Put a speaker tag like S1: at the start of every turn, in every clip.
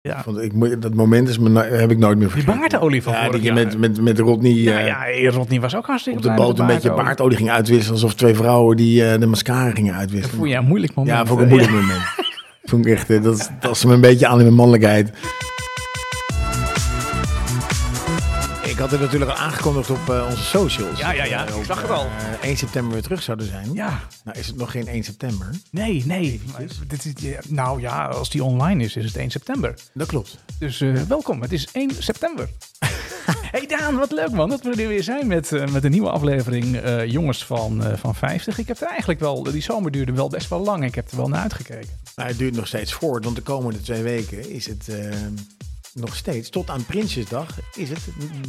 S1: Ja.
S2: Ah. Want ik, moet- dat moment is me, no- heb ik nooit meer
S1: Die
S2: vergeten.
S1: baardolie van
S2: Ja,
S1: vorig
S2: die
S1: jaar.
S2: met, met, met Rodney
S1: ja,
S2: eh,
S1: ja, eh, Rodney was ook hartstikke
S2: op de
S1: blij
S2: boot een
S1: met de
S2: beetje baardolie ging uitwisselen. Alsof twee vrouwen die eh, de mascara gingen
S1: Dat
S2: uitwisselen.
S1: vond je een moeilijk moment.
S2: Ja, vond ik een moeilijk moment. Vond ik echt, eh, dat, dat ze me een beetje aan in mijn mannelijkheid. Ik had het natuurlijk al aangekondigd op eh, onze socials.
S1: Ja, ja, ja,
S2: Eh,
S1: ik
S2: op,
S1: zag het al.
S2: eh, 1 september weer terug zouden zijn.
S1: Ja,
S2: Nou is het nog geen 1 september.
S1: nee, nee. Maar Dit is, ja, nou ja, als die online is, is het 1 september.
S2: Dat klopt.
S1: Dus eh, welkom, het is 1 september. hey Daan, wat leuk man dat we er weer zijn met, eh, met een nieuwe aflevering eh, Jongens van, eh, van 50. Ik heb er eigenlijk wel, die zomer duurde wel best wel lang. Ik heb er wel naar uitgekeken.
S2: Maar het duurt nog steeds voort, want de komende twee weken is het eh, nog steeds, tot aan Prinsjesdag, is het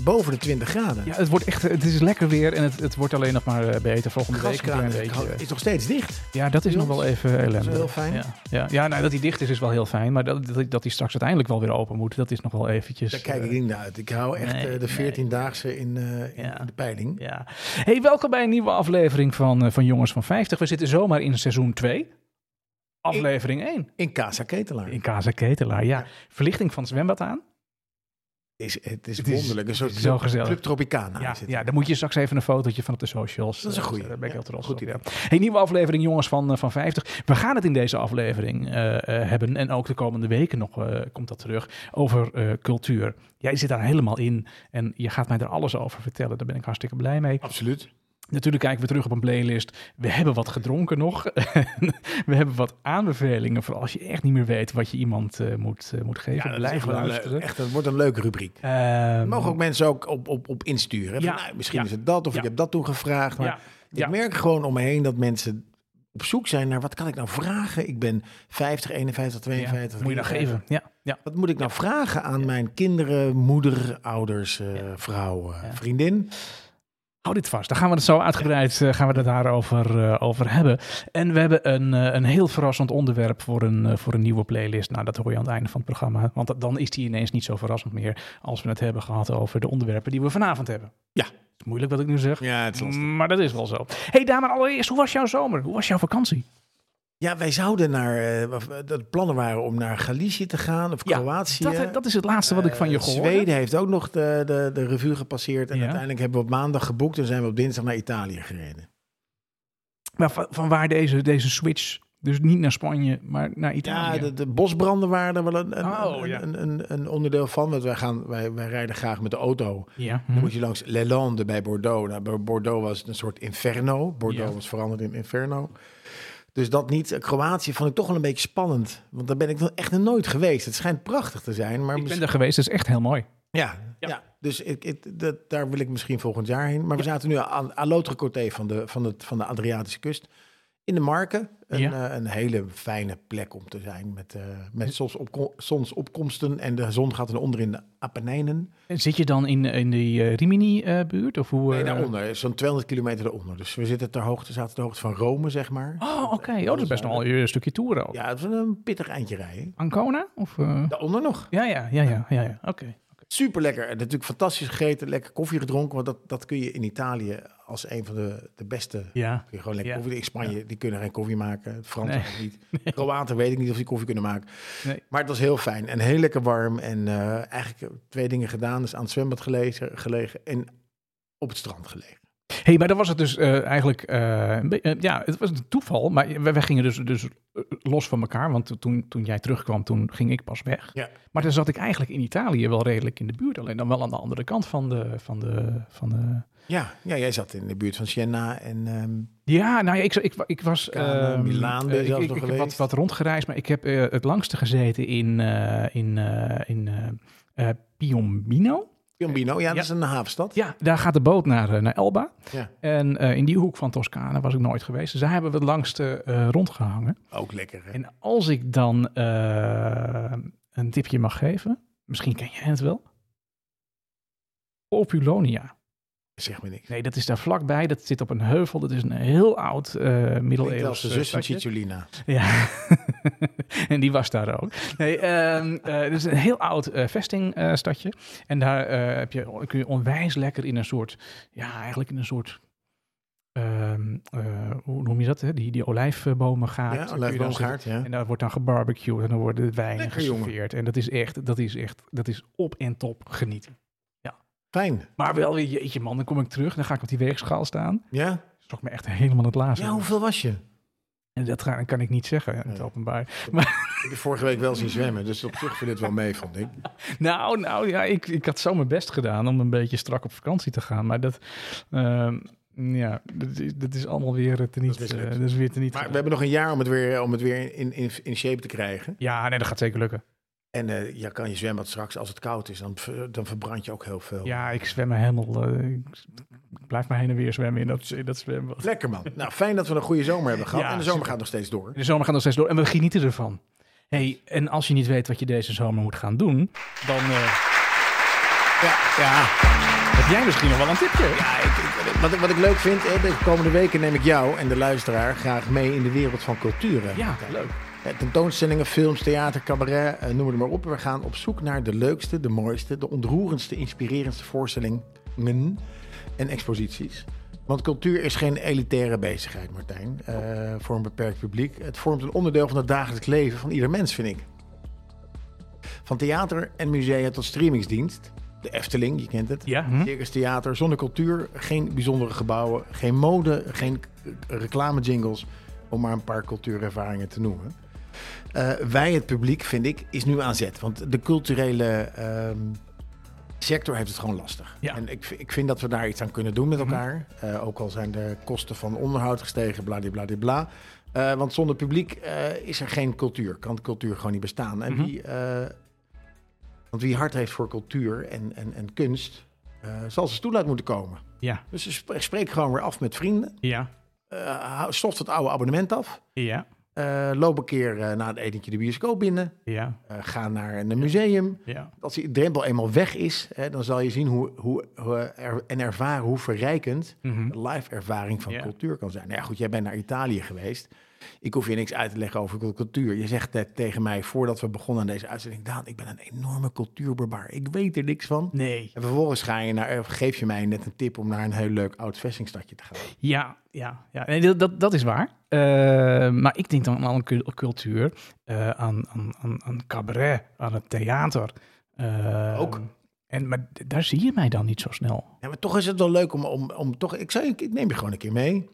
S2: boven de 20 graden.
S1: Ja, het wordt echt, het is lekker weer en het, het wordt alleen nog maar eh, beter volgende week. een klein
S2: Gaskraan is,
S1: beetje.
S2: is nog steeds dicht.
S1: Ja, dat is nog wel even ellende.
S2: wel heel fijn.
S1: Ja, ja. ja nou, dat hij dicht is, is wel heel fijn. Maar dat, dat, dat hij straks uiteindelijk wel weer open moet, dat is nog wel eventjes...
S2: Daar kijk
S1: eh,
S2: ik niet naar uit. Ik hou echt
S1: nee,
S2: eh, de
S1: nee.
S2: 14-daagse in, eh, in
S1: Ja.
S2: de peiling.
S1: Ja. Hey, welkom bij een nieuwe aflevering van, eh, van Jongens van 50. We zitten zomaar in seizoen 2. Aflevering 1.
S2: In Casa Ketelaar.
S1: In Casa Ketelaar, ja.
S2: Ja.
S1: Verlichting van het zwembad aan.
S2: Is, het is
S1: Het is
S2: wonderlijk. Een soort
S1: zo
S2: Club-
S1: gezellig.
S2: Club Tropicana.
S1: Ja,
S2: is het.
S1: ja, daar moet je straks even een fotootje van op de socials.
S2: Dat is een
S1: eh,
S2: goeie.
S1: zetten. Daar ben ik
S2: Ja,
S1: heel trots
S2: goed
S1: op.
S2: idee.
S1: ja. Hey, nieuwe aflevering Jongens van, eh, van 50. We gaan het in deze aflevering eh, eh, hebben. En ook de komende weken nog eh, komt dat terug. Over eh, cultuur. Jij zit daar helemaal in. En je gaat mij er alles over vertellen. Daar ben ik hartstikke blij mee.
S2: Absoluut.
S1: Natuurlijk kijken we terug op een playlist. We hebben wat gedronken nog. we hebben wat aanbevelingen voor als je echt niet meer weet wat je iemand eh, moet, eh, moet geven.
S2: dat
S1: Blijf luisteren.
S2: echt, dat wordt een leuke rubriek.
S1: Ehm,
S2: Er mogen ook mensen ook op, op, op insturen. hè? Van,
S1: Ja.
S2: nou, misschien
S1: Ja.
S2: is het dat, of
S1: Ja.
S2: ik heb dat toen gevraagd. Maar
S1: ja,
S2: ik
S1: ja.
S2: merk gewoon om me heen dat mensen op zoek zijn naar... wat kan ik nou vragen? Ik ben 50, 51,
S1: ja.
S2: 52.
S1: moet je dat
S2: 53.
S1: geven. Ja, ja.
S2: Wat moet ik nou vragen aan mijn kinderen, moeder, ouders, eh, vrouw, eh,
S1: Ja.
S2: vriendin?
S1: Hou dit vast. Dan gaan we het zo uitgebreid eh, gaan we het daarover eh, over hebben. En we hebben een, eh, een heel verrassend onderwerp voor een, eh, voor een nieuwe playlist. Nou, dat hoor je aan het einde van het programma. Want dat- dan is die ineens niet zo verrassend meer als we het hebben gehad over de onderwerpen die we vanavond hebben.
S2: Ja.
S1: Moeilijk wat ik nu zeg.
S2: Ja, het
S1: Maar dat is wel zo. hey, dame, allereerst, hoe was jouw zomer? Hoe was jouw vakantie?
S2: Ja, wij zouden naar... eh, of, eh, dat plannen waren om naar Galicië te gaan of
S1: Ja,
S2: Kroatië.
S1: Dat, dat is het laatste wat ik van je
S2: Eh,
S1: gehoord heb.
S2: Zweden heeft ook nog de, de, de revue gepasseerd. En
S1: Ja.
S2: uiteindelijk hebben we op maandag geboekt en zijn we op dinsdag naar Italië gereden.
S1: Maar van, van waar deze, deze switch? Dus niet naar Spanje, maar naar
S2: Ja,
S1: Italië.
S2: de, de bosbranden waren er wel een, een,
S1: Oh,
S2: een-
S1: ja.
S2: een, een, een onderdeel van. Want wij, gaan, wij, wij rijden graag met de auto.
S1: ja.
S2: Dan
S1: Hm.
S2: moet je langs Lelande bij Bordeaux. Nou, bij Bordeaux was het een soort inferno. Bordeaux
S1: Ja.
S2: was veranderd in inferno. Dus dat niet. Kroatië vond ik toch wel een beetje spannend. Want daar ben ik nog echt nog nooit geweest. Het schijnt prachtig te zijn. Maar
S1: Ik ben
S2: misschien-
S1: er geweest, dat is echt heel mooi.
S2: Ja,
S1: Ja.
S2: ja. dus ik, ik- dat, daar wil ik misschien volgend jaar heen. Maar we zaten nu aan, aan l'autre côté van de, van, het, van de Adriatische kust. In de Marken. Een,
S1: Ja.
S2: eh, een hele fijne plek om te zijn. Met, eh met zonsopko- zonsopkomsten. En de zon gaat eronder in de Apennijnen.
S1: En zit je dan in, in die eh, Rimini-buurt? of hoe?
S2: Nee,
S1: eh,
S2: daaronder. Zo'n 200 kilometer daaronder. Dus we zitten ter hoogte, zaten ter hoogte van Rome, zeg maar.
S1: Oh, oké. Oh, dat is best nog wel een stukje toeren ook.
S2: Ja, het was een pittig eindje rijden.
S1: Ancona? Of, eh,
S2: Daaronder nog.
S1: Ja, ja, ja, ja. ja, ja. Oké.
S2: Super lekker. Natuurlijk fantastisch gegeten, lekker koffie gedronken. Want dat, dat kun je in Italië als een van de, de beste
S1: Ja.
S2: Kun je gewoon lekker
S1: Ja.
S2: koffie. In Spanje, die kunnen geen koffie maken. De Fransen
S1: Nee.
S2: ook niet. Kroaten weet ik niet of die koffie kunnen maken.
S1: Nee.
S2: Maar het was heel fijn en heel lekker warm. En eh, eigenlijk twee dingen gedaan. Dus aan het zwembad gelegen, gelegen en op het strand gelegen.
S1: hey, maar dan was het dus eh, eigenlijk... eh, een be- eh, ja, het was een toeval. Maar we- wij, gingen dus, dus eh, los van elkaar. Want toen, toen jij terugkwam, toen ging ik pas weg.
S2: Ja.
S1: Maar dan zat ik eigenlijk in Italië wel redelijk in de buurt. Alleen dan wel aan de andere kant van de... Van de, van de...
S2: Ja, ja, jij zat in de buurt van Siena en... ehm,
S1: Ja, nou ja, ik, ik, ik was...
S2: Toscane,
S1: ehm,
S2: Milaan ben je
S1: eh, ik-
S2: zelfs
S1: ik,
S2: nog
S1: ik heb wat,
S2: geweest.
S1: wat rondgereisd, maar ik heb eh, het langste gezeten in, eh, in, eh, in eh, eh, Piombino.
S2: Piombino, ja, dat
S1: Ja.
S2: is een havenstad.
S1: Ja, daar gaat de boot naar, eh, naar Elba.
S2: Ja.
S1: En eh, in die hoek van Toscane was ik nooit geweest. Dus daar hebben we het langste eh, rondgehangen.
S2: Ook lekker, hè?
S1: En als ik dan eh, een tipje mag geven, misschien ken jij het wel. Populonia.
S2: Zeg me niks.
S1: Nee, dat is daar vlakbij. Dat zit op een heuvel. Dat is een heel oud eh
S2: Klinkt als
S1: middeleeuws
S2: de zus van
S1: stadje.
S2: Cicciolina.
S1: Ja, en die was daar ook. Nee, ehm eh, het is een heel oud eh, vestingstadje. en daar eh, heb je, kun je onwijs lekker in een soort, ja, eigenlijk in een soort ehm, eh, hoe noem je dat? Hè? Die, die olijfbomen gaat.
S2: Ja, olijfboomgaard, ja.
S1: En daar wordt dan gebarbecued en dan wordt de wijn
S2: Lekker, jongen.
S1: geserveerd. En dat is echt, dat is echt, dat is op en top genieten.
S2: Fijn,
S1: Maar wel weer, jeetje man, dan kom ik terug, dan ga ik op die weegschaal staan.
S2: ja?
S1: Dat me echt helemaal het laatste.
S2: Ja, hoeveel was je?
S1: En dat ga- kan ik niet zeggen in het
S2: Nee.
S1: openbaar.
S2: Ik heb vorige week wel zien zwemmen, dus op zich viel het wel mee, vond ik.
S1: Nou, nou ja, ik, ik had zo mijn best gedaan om een beetje strak op vakantie te gaan. Maar dat, ehm, ja, dat is, dat is allemaal weer eh, teniet.
S2: Dat is mislukt.
S1: eh, dat is weer teniet.
S2: Maar we hebben nog een jaar om het weer, om het weer in, in, in shape te krijgen.
S1: Ja, nee, dat gaat zeker lukken.
S2: En eh ja, kan je zwembad straks, als het koud is, dan, ver- dan verbrand je ook heel veel.
S1: Ja, ik zwem me helemaal. eh, ik s- ik blijf maar heen en weer zwemmen in dat, in dat zwembad.
S2: Lekker man. Nou, fijn dat we een goede zomer hebben gehad.
S1: Ja,
S2: en de zomer
S1: super.
S2: gaat nog steeds door.
S1: De zomer gaat nog steeds door en we genieten ervan. hey, en als je niet weet wat je deze zomer moet gaan doen, dan eh,
S2: Ja, ja.
S1: heb jij misschien nog wel een tipje.
S2: Ja, ik, ik- wat, ik- wat ik leuk vind, hè, de komende weken neem ik jou en de luisteraar graag mee in de wereld van culturen.
S1: Ja, leuk.
S2: Eh, Tentoonstellingen, films, theater, cabaret, eh, noem het maar op. We gaan op zoek naar de leukste, de mooiste, de ontroerendste, inspirerendste voorstellingen en exposities. Want cultuur is geen elitaire bezigheid, Martijn, eh, voor een beperkt publiek. Het vormt een onderdeel van het dagelijks leven van ieder mens, vind ik. Van theater en musea tot streamingsdienst. De Efteling, je kent het.
S1: Ja, hm?
S2: Circus theater, zonder cultuur, geen bijzondere gebouwen, geen mode, geen reclamejingles, om maar een paar cultuurervaringen te noemen. Eh, wij, het publiek, vind ik, is nu aan zet. Want de culturele ehm, sector heeft het gewoon lastig.
S1: Ja. Mhm.
S2: En ik, v- ik vind dat we daar iets aan kunnen doen met elkaar. Eh, ook al zijn de kosten van onderhoud gestegen, bladibladibla. Eh, want zonder publiek eh, is er geen cultuur. Kan cultuur gewoon niet bestaan. En
S1: Mhm.
S2: wie, eh, want wie hard heeft voor cultuur en, en, en kunst, eh, zal zijn stoel uit moeten komen.
S1: ja,
S2: Dus sp- spreek gewoon weer af met vrienden.
S1: ja,
S2: Eh, hou- stof het oude abonnement af.
S1: ja,
S2: Eh, loop een keer eh, na het etentje de bioscoop binnen.
S1: ja,
S2: Eh, ga naar een museum.
S1: ja.
S2: Als die drempel eenmaal weg is, hè, dan zal je zien hoe, hoe, hoe er- en ervaren hoe verrijkend
S1: Mhm.
S2: de live ervaring van
S1: Ja.
S2: cultuur kan zijn. Nou ja, goed, jij bent naar Italië geweest. Ik hoef je niks uit te leggen over cultuur. Je zegt net tegen mij voordat we begonnen aan deze uitzending, Daan, ik ben een enorme cultuurbarbaar. Ik weet er niks van.
S1: Nee.
S2: En vervolgens ga je naar, eh, geef je mij net een tip om naar een heel leuk oud vestingstadje te gaan.
S1: Ja, ja, ja. Nee, dat, dat, dat is waar. Eh, maar ik denk dan aan cul- cultuur, eh, aan, aan, aan, aan cabaret, aan het theater. Eh,
S2: Ook.
S1: En, maar d- daar zie je mij dan niet zo snel.
S2: Ja, maar toch is het wel leuk om, om, om toch. Ik, zou, je- ik neem je gewoon een keer mee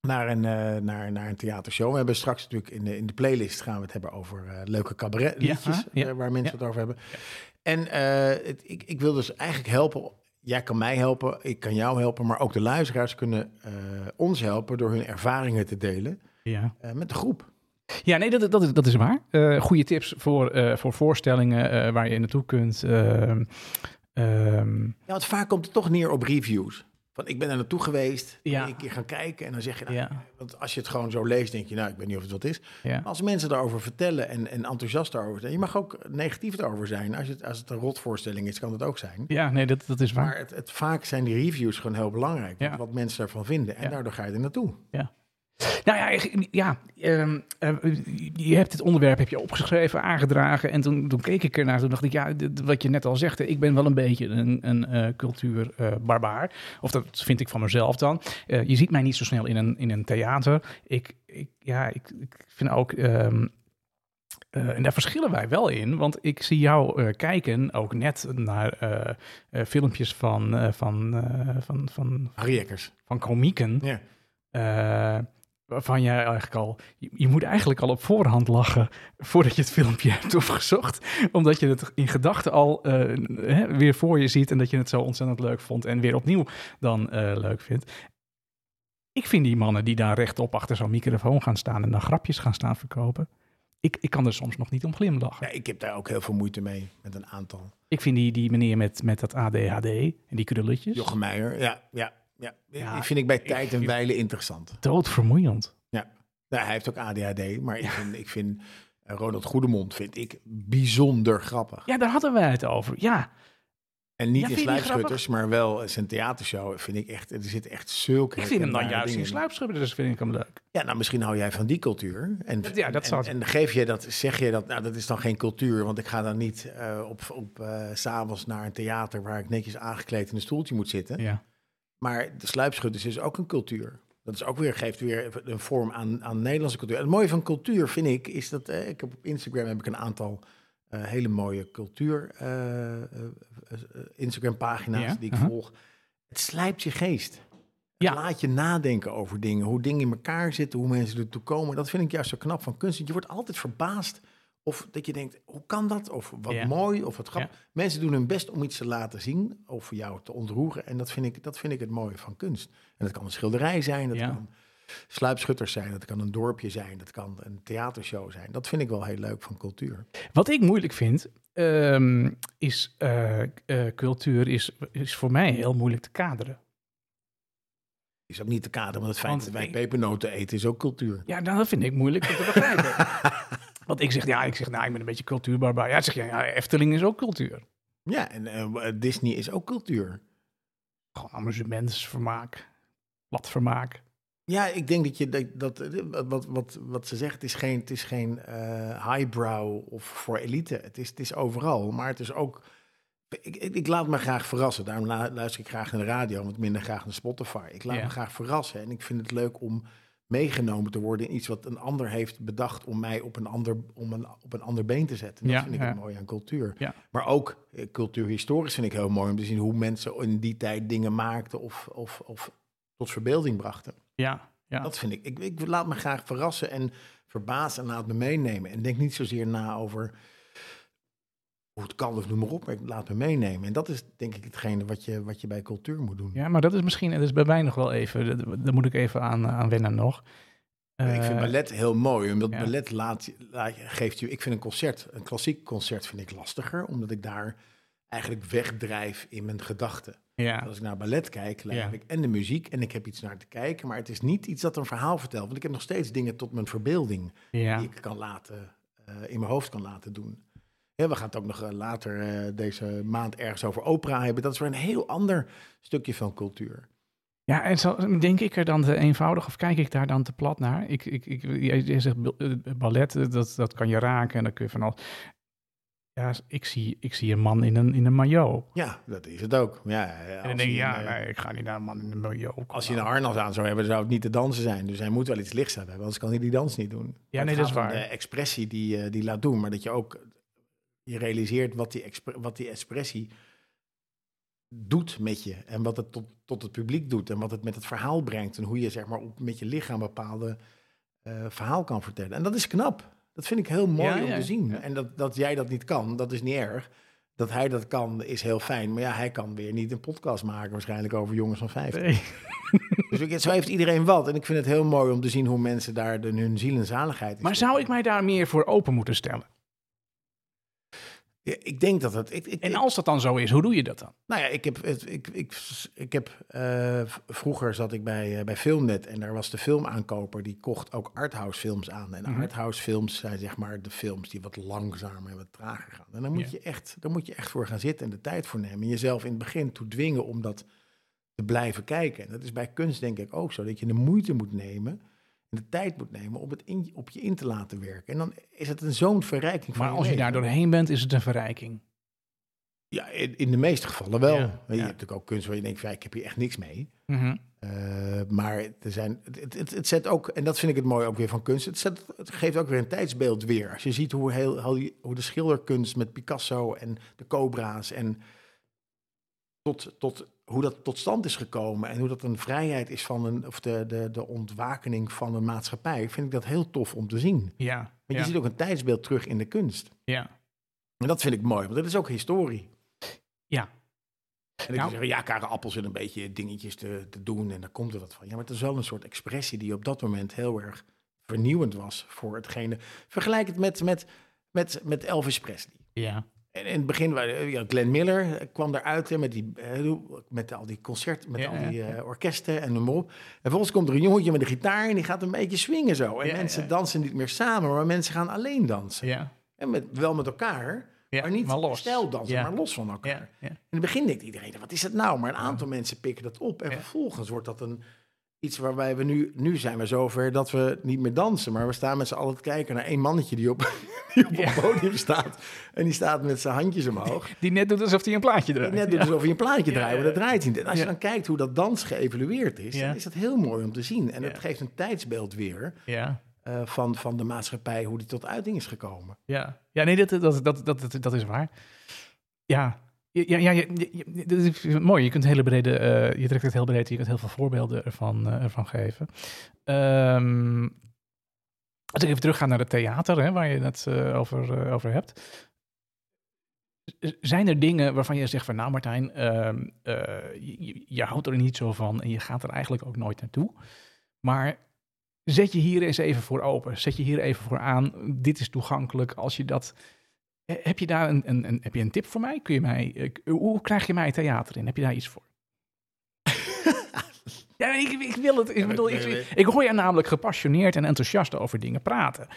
S2: naar een, eh, naar, naar een theatershow. We hebben straks natuurlijk in de, in de playlist gaan we het hebben over eh, leuke cabaretliedjes.
S1: Ja, ja,
S2: eh, waar mensen
S1: ja.
S2: het over hebben. En eh, het- ik, ik wil dus eigenlijk helpen. Jij kan mij helpen, ik kan jou helpen. Maar ook de luisteraars kunnen eh, ons helpen door hun ervaringen te delen
S1: Ja,
S2: eh, met de groep.
S1: ja nee, dat, dat, is, dat is waar. Eh goede tips voor, eh, voor voorstellingen eh, waar je naartoe kunt. Ehm, ehm,
S2: Ja, want vaak komt het toch neer op reviews. Van ik ben er naartoe geweest,
S1: Ja.
S2: ja. een keer gaan kijken en dan zeg je... nou,
S1: ja,
S2: Want als je het gewoon zo leest, denk je, nou, ik weet niet of het wat is.
S1: ja.
S2: Als mensen daarover vertellen en, en enthousiast daarover zijn, je mag ook negatief daarover zijn. Als het, als het een rotvoorstelling is, kan dat ook zijn.
S1: ja, nee, dat, dat is waar.
S2: Maar het, het, vaak zijn die reviews gewoon heel belangrijk.
S1: Ja.
S2: Wat mensen daarvan vinden. En
S1: Ja.
S2: daardoor ga je er naartoe.
S1: Nou ja, ik- ja ehm, eh, je hebt dit onderwerp heb je opgeschreven, aangedragen. En toen, toen keek ik ernaar. Toen dacht ik, ja, dit- wat je net al zegt. Ik ben wel een beetje een, een eh, cultuurbarbaar. of dat vind ik van mezelf dan. Eh, je ziet mij niet zo snel in een, in een theater. Ik, ik, ja, ik, ik vind ook... ehm, eh, en daar verschillen wij wel in, want ik zie jou eh, kijken ook net naar eh, eh, filmpjes van, eh, van, eh, van, van,
S2: Harry Eckers.
S1: van komieken.
S2: Ja.
S1: Eh, waarvan jij eigenlijk al... Je, je moet eigenlijk al op voorhand lachen voordat je het filmpje hebt opgezocht. Omdat je het in gedachten al eh, hè, weer voor je ziet en dat je het zo ontzettend leuk vond en weer opnieuw dan eh, leuk vindt. Ik vind die mannen die daar rechtop achter zo'n microfoon gaan staan en dan grapjes gaan staan verkopen. Ik, ik kan er soms nog niet om glimlachen.
S2: Ja, ik heb daar ook heel veel moeite mee met een aantal.
S1: Ik vind die, die meneer met, met dat ADHD en die krulletjes
S2: Jochem Meijer. Ja, ja, ja.
S1: Ja,
S2: Die vind ik bij tijd en
S1: vind-
S2: wijle interessant.
S1: doodvermoeiend.
S2: Nou, hij heeft ook ADHD. Maar ik vind, ik vind eh, Ronald Goedemond vind ik bijzonder grappig.
S1: Ja, daar hadden wij het over. Ja,
S2: En niet
S1: Ja,
S2: in
S1: vind je die
S2: Sluipschutters, maar wel eh, zijn theatershow vind ik echt... Er zit echt zulke
S1: ik vind hem dan
S2: herkenbare
S1: juist in
S2: dingen
S1: sluipschubbers, dus vind ik hem leuk.
S2: Ja, nou, misschien hou jij van die cultuur. En,
S1: Ja, dat
S2: en,
S1: zou-
S2: en geef je dat, zeg je dat, nou, dat is dan geen cultuur, want ik ga dan niet eh, op, op eh, s'avonds naar een theater waar ik netjes aangekleed in een stoeltje moet zitten.
S1: Ja.
S2: Maar de sluipschutters is ook een cultuur. Dat is ook weer, geeft weer een vorm aan, aan Nederlandse cultuur. Het mooie van cultuur, vind ik, is dat... eh, ik heb op Instagram heb ik een aantal eh, hele mooie cultuur eh, eh, eh, Instagram-pagina's
S1: Ja,
S2: die ik
S1: aha.
S2: volg. Het slijpt je geest.
S1: Ja.
S2: Het laat je nadenken over dingen. Hoe dingen in elkaar zitten, hoe mensen ertoe komen. Dat vind ik juist zo knap van kunst. want Je wordt altijd verbaasd of dat je denkt, hoe kan dat? Of wat
S1: Ja.
S2: mooi, of wat grappig.
S1: Ja.
S2: Mensen doen hun best om iets te laten zien of jou te ontroeren. En dat vind ik, dat vind ik het mooie van kunst. En dat kan een schilderij zijn, dat
S1: Ja.
S2: kan sluipschutters zijn, dat kan een dorpje zijn, dat kan een theatershow zijn. Dat vind ik wel heel leuk van cultuur.
S1: Wat ik moeilijk vind, ehm, is eh, eh, cultuur is, is voor mij heel moeilijk te kaderen.
S2: Is ook niet te kaderen, want het feit
S1: Want
S2: dat wij
S1: ik-
S2: pepernoten eten is ook cultuur.
S1: Ja, nou, dat vind ik moeilijk om te begrijpen. Want ik zeg, ja, ik zeg, nou, ik ben een beetje cultuurbarbaar. Ja, zeg je, ja, Efteling is ook cultuur.
S2: Ja, en eh, Disney is ook cultuur.
S1: Gewoon amusementsvermaak, wat vermaak.
S2: Ja, ik denk dat je dat, dat eh, wat, wat, wat ze zegt, het is geen, het is geen eh, highbrow of voor elite. Het is, het is overal, maar het is ook. Ik, ik, ik laat me graag verrassen. Daarom la- luister ik graag naar de radio, want minder graag naar Spotify. Ik laat
S1: Ja.
S2: me graag verrassen en ik vind het leuk om meegenomen te worden in iets wat een ander heeft bedacht om mij op een ander, om een, op een ander been te zetten. En dat
S1: Ja,
S2: vind ik
S1: ja.
S2: het mooi aan cultuur.
S1: Ja.
S2: Maar ook eh, cultuurhistorisch vind ik heel mooi om te zien hoe mensen in die tijd dingen maakten of, of, of tot verbeelding brachten.
S1: Ja, ja.
S2: Dat vind ik. ik. Ik laat me graag verrassen en verbazen en laat me meenemen. En denk niet zozeer na over hoe het kan of noem maar op. Maar ik laat me meenemen. En dat is denk ik hetgene wat je, wat je bij cultuur moet doen.
S1: ja, maar dat is misschien, dat is bij mij nog wel even, dat- daar moet ik even aan, aan wennen nog.
S2: ik vind
S1: Eh,
S2: ballet heel mooi. Omdat
S1: ja.
S2: ballet laat, laat- geeft je... Ik vind een concert, een klassiek concert vind ik lastiger. Omdat ik daar eigenlijk wegdrijf in mijn gedachten.
S1: ja.
S2: Als ik naar ballet kijk, lijk
S1: Ja.
S2: ik en de muziek en ik heb iets naar te kijken. Maar het is niet iets dat een verhaal vertelt. Want ik heb nog steeds dingen tot mijn verbeelding.
S1: Ja.
S2: die ik kan laten, eh, in mijn hoofd kan laten doen. Ja, we gaan het ook nog eh, later eh, deze maand ergens over opera hebben. Dat is weer een heel ander stukje van cultuur.
S1: Ja, en zo, denk ik er dan te eenvoudig of kijk ik daar dan te plat naar? Ik, ik, ik, jij- jij zegt bil- eh, ballet, eh, dat, dat kan je raken en dan kun je van al. Ja, ik zie, ik zie een man in een, in een maillot.
S2: Ja, dat is het ook. Ja, eh,
S1: En dan
S2: als
S1: denk je,
S2: hij
S1: ja,
S2: een, eh,
S1: nee, ik ga niet naar een man in een maillot. Kom
S2: Als hij een
S1: nou.
S2: harnas aan zou hebben, zou het niet te dansen zijn. Dus hij moet wel iets lichts hebben, anders kan hij die dans niet doen.
S1: Ja,
S2: Het
S1: nee, dat is
S2: gaat om
S1: waar.
S2: De expressie die, eh, die laat doen, maar dat je ook je realiseert wat die, expre- wat die expressie doet met je. En wat het tot, tot het publiek doet en wat het met het verhaal brengt. En hoe je zeg maar op, met je lichaam bepaalde eh, verhaal kan vertellen. En dat is knap. Dat vind ik heel mooi
S1: Ja,
S2: om
S1: ja,
S2: te zien.
S1: ja.
S2: En dat, dat jij dat niet kan, dat is niet erg. Dat hij dat kan, is heel fijn. Maar ja, hij kan weer niet een podcast maken waarschijnlijk over jongens van 50.
S1: Nee.
S2: Dus ik, zo heeft iedereen wat. En ik vind het heel mooi om te zien hoe mensen daar de, hun ziel en zaligheid in
S1: Maar
S2: stoppen.
S1: zou ik mij daar meer voor open moeten stellen?
S2: Ja, ik denk dat het... Ik, ik,
S1: En
S2: ik-
S1: als dat dan zo is, hoe doe je dat dan?
S2: nou ja, ik heb... het- Ik, ik, ik heb eh, v- vroeger zat ik bij, eh, bij Filmnet en daar was de filmaankoper... die kocht ook arthouse films aan. En
S1: Mhm.
S2: arthouse films zijn zeg maar de films die wat langzamer en wat trager gaan. En daar moet,
S1: Ja.
S2: je echt, daar moet je echt voor gaan zitten en de tijd voor nemen. En jezelf in het begin toe dwingen om dat te blijven kijken. En dat is bij kunst denk ik ook zo. Dat je de moeite moet nemen... en De tijd moet nemen om het in, op je in te laten werken. En dan is het een zo'n verrijking van
S1: Maar als je
S2: leven.
S1: daar doorheen bent, is het een verrijking.
S2: Ja, in, in de meeste gevallen wel.
S1: Ja,
S2: Weet Je
S1: ja.
S2: hebt natuurlijk ook kunst waar je denkt, van, ja, ik heb hier echt niks mee.
S1: Mhm.
S2: Eh, maar er zijn, het- het, het, het zet ook, en dat vind ik het mooi ook weer van kunst, het, zet, het geeft ook weer een tijdsbeeld weer. Als je ziet hoe, heel, hoe die- hoe de schilderkunst met Picasso en de cobra's en tot, tot, hoe dat tot stand is gekomen en hoe dat een vrijheid is van een, of de, de, de ontwakening van een maatschappij, vind ik dat heel tof om te zien. Want
S1: Ja,
S2: je
S1: ja,
S2: ziet ook een tijdsbeeld terug in de kunst.
S1: ja.
S2: En dat vind ik mooi, want dat is ook historie.
S1: Ja.
S2: En ik
S1: Nou.
S2: zou zeggen, ja, karappels en een beetje dingetjes te, te doen en daar komt er wat van. Ja, maar het is wel een soort expressie die op dat moment heel erg vernieuwend was voor hetgene. Vergelijk het met, met, met, met Elvis Presley.
S1: ja.
S2: En in het begin, waren- ja, Glenn Miller eh, kwam eruit hè, met, die, eh, met al die concerten, met
S1: Ja,
S2: al die
S1: ja,
S2: eh, orkesten en noem maar op. En vervolgens komt er een jongetje met een gitaar en die gaat een beetje swingen zo. En
S1: Ja,
S2: mensen
S1: ja.
S2: dansen niet meer samen, maar mensen gaan alleen dansen.
S1: ja.
S2: En met, wel met elkaar,
S1: Ja,
S2: maar niet
S1: maar los.
S2: stijl dansen,
S1: Ja.
S2: maar los van elkaar.
S1: ja. ja.
S2: In het begin denkt iedereen, wat is het nou? Maar een aantal mensen pikken dat op. En
S1: Ja.
S2: vervolgens wordt dat een, iets waarbij we nu, nu zijn we zover dat we niet meer dansen, maar we staan met z'n allen te kijken naar één mannetje die op, die op het podium staat. En die staat met zijn handjes omhoog.
S1: Die net doet alsof hij een plaatje
S2: En
S1: draait.
S2: net doet alsof je een plaatje draait, maar dat draait niet. En als je
S1: Ja.
S2: dan kijkt hoe dat dans geëvalueerd is,
S1: Ja.
S2: dan is dat heel mooi om te zien. En
S1: Ja.
S2: het geeft een tijdsbeeld weer
S1: Ja.
S2: eh, van, van de maatschappij, hoe die tot uiting is gekomen.
S1: Ja, ja nee, dat, dat, dat, dat, dat, dat is waar. Ja. Ja, ja, ja, ja, ja, dat is mooi. Je kunt hele brede, eh, je trekt het heel breed. Je kunt heel veel voorbeelden ervan, eh, ervan geven. Ehm, als ik even terugga naar het theater, hè, waar je het eh, over, eh, over hebt. Z- Zijn er dingen waarvan je zegt van, nou Martijn, ehm, eh, je- je, je houdt er niet zo van en je gaat er eigenlijk ook nooit naartoe. Maar zet je hier eens even voor open. Zet je hier even voor aan. Dit is toegankelijk. Als je dat. Eh, Heb je daar een, een, een- heb je een tip voor mij? Kun je mij eh, k- hoe krijg je mij het theater in? Heb je daar iets voor? ja, ik, ik wil het. Ik,
S2: Ja,
S1: bedoel,
S2: nee,
S1: ik,
S2: nee.
S1: ik hoor je namelijk gepassioneerd en enthousiast over dingen praten.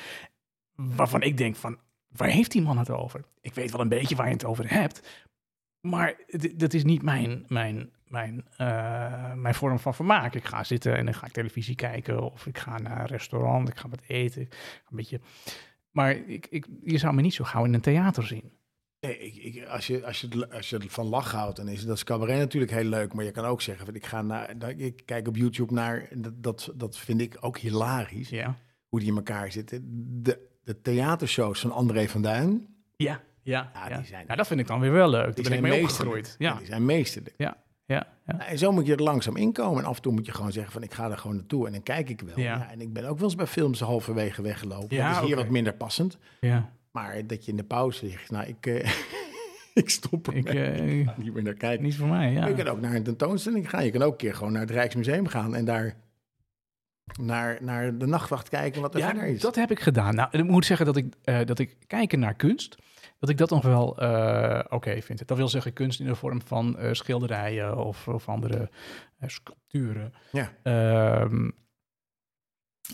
S1: Waarvan ik denk van. Waar heeft die man het over? Ik weet wel een beetje waar je het over hebt. Maar d- dat is niet mijn, mijn, mijn, eh, mijn vorm van vermaak. Ik ga zitten en dan ga ik televisie kijken. Of ik ga naar een restaurant. Ik ga wat eten. Ik ga Een beetje. Maar ik, ik, je zou me niet zo gauw in een theater zien.
S2: Nee, ik, ik, als, je, als, je, het- als je het van lach houdt, dan is dat is cabaret natuurlijk heel leuk. Maar je kan ook zeggen, van, ik, ga naar, dat- ik kijk op YouTube naar, dat, dat, dat vind ik ook hilarisch,
S1: Ja.
S2: hoe die in elkaar zitten. De, de theatershows van André van Duin,
S1: Ja. Ja.
S2: Ja, die zijn-
S1: Nou, dat vind ik dan weer wel leuk. Daar
S2: die
S1: ben ik
S2: zijn
S1: mee
S2: meesterlijk.
S1: opgegroeid. Ja.
S2: die zijn meesterlijk. Nou,
S1: Ja. Ja. Ja.
S2: En zo moet je er langzaam inkomen. En af en toe moet je gewoon zeggen van ik ga er gewoon naartoe en dan kijk ik wel.
S1: Ja.
S2: Ja. en ik ben ook wel eens bij films halverwege weggelopen.
S1: Ja,
S2: dat is hier
S1: oké.
S2: wat minder passend.
S1: ja.
S2: Maar dat je in de pauze zegt, nou ik, eh, ik stop er
S1: Ik, eh,
S2: niet meer naar kijken.
S1: niet voor mij.
S2: Maar
S1: Ja.
S2: Je kan ook naar een tentoonstelling gaan. Je kan ook een keer gewoon naar het Rijksmuseum gaan en daar naar, naar de nachtwacht kijken wat er
S1: ja,
S2: verder is.
S1: dat heb ik gedaan. Nou, ik moet zeggen dat ik, eh, dat ik kijken naar kunst, dat ik dat nog wel eh, oké vind. Dat wil zeggen kunst in de vorm van eh, schilderijen of, of andere eh, sculpturen.
S2: Ja.
S1: Ehm,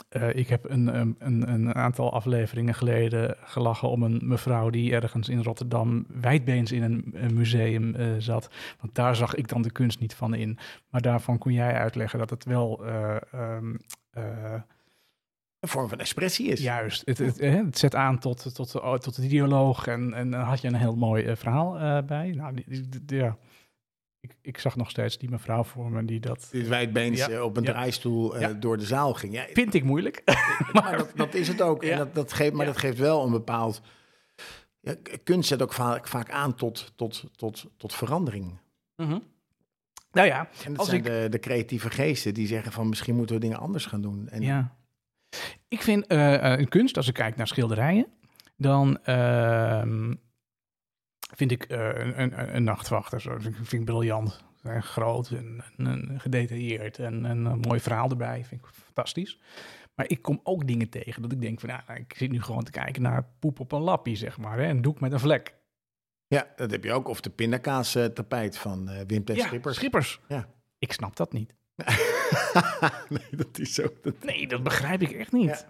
S1: eh, ik heb een, een, een, een aantal afleveringen geleden gelachen om een mevrouw die ergens in Rotterdam wijdbeens in een, een museum eh, zat. Want daar zag ik dan de kunst niet van in. Maar daarvan kon jij uitleggen dat het wel eh, ehm, eh,
S2: Een vorm van expressie is.
S1: Juist, het, het, hè, het zet aan tot, tot, de- tot de dialoog en, en dan had je een heel mooi eh, verhaal eh, bij. Nou, die- die- die- ja. ik, ik zag nog steeds die mevrouw voor me die dat...
S2: Dit wijdbeens
S1: Ja.
S2: eh, op een
S1: Ja.
S2: draaistoel eh,
S1: Ja.
S2: door de zaal ging. Ja,
S1: Vind ik moeilijk.
S2: Maar dat, dat is het ook.
S1: Ja.
S2: En dat, dat geeft, maar
S1: Ja.
S2: dat geeft wel een bepaald. Ja, k- kunst zet ook vaak, vaak aan tot, tot, tot, tot verandering.
S1: Mhm. Nou ja,
S2: En dat
S1: Als
S2: zijn
S1: ik-
S2: de, de creatieve geesten die zeggen van misschien moeten we dingen anders gaan doen. En
S1: Ja. Ik vind eh, eh, kunst, als ik kijk naar schilderijen, dan ehm, vind ik eh, een, een, een nachtwachter. Zo. Vind, ik- vind ik briljant. En groot en, en- en gedetailleerd. En, en een mooi verhaal erbij. Vind ik fantastisch. Maar ik kom ook dingen tegen dat ik denk van, nou, ik zit nu gewoon te kijken naar poep op een lappie, zeg maar. Hè? Een doek met een vlek.
S2: ja, dat heb je ook. Of de pindakaas eh, tapijt van eh, Wim ten
S1: ja,
S2: Schippers.
S1: Schippers.
S2: Ja.
S1: Ik snap dat niet.
S2: nee, dat is zo. Dat...
S1: Nee, dat begrijp ik echt niet.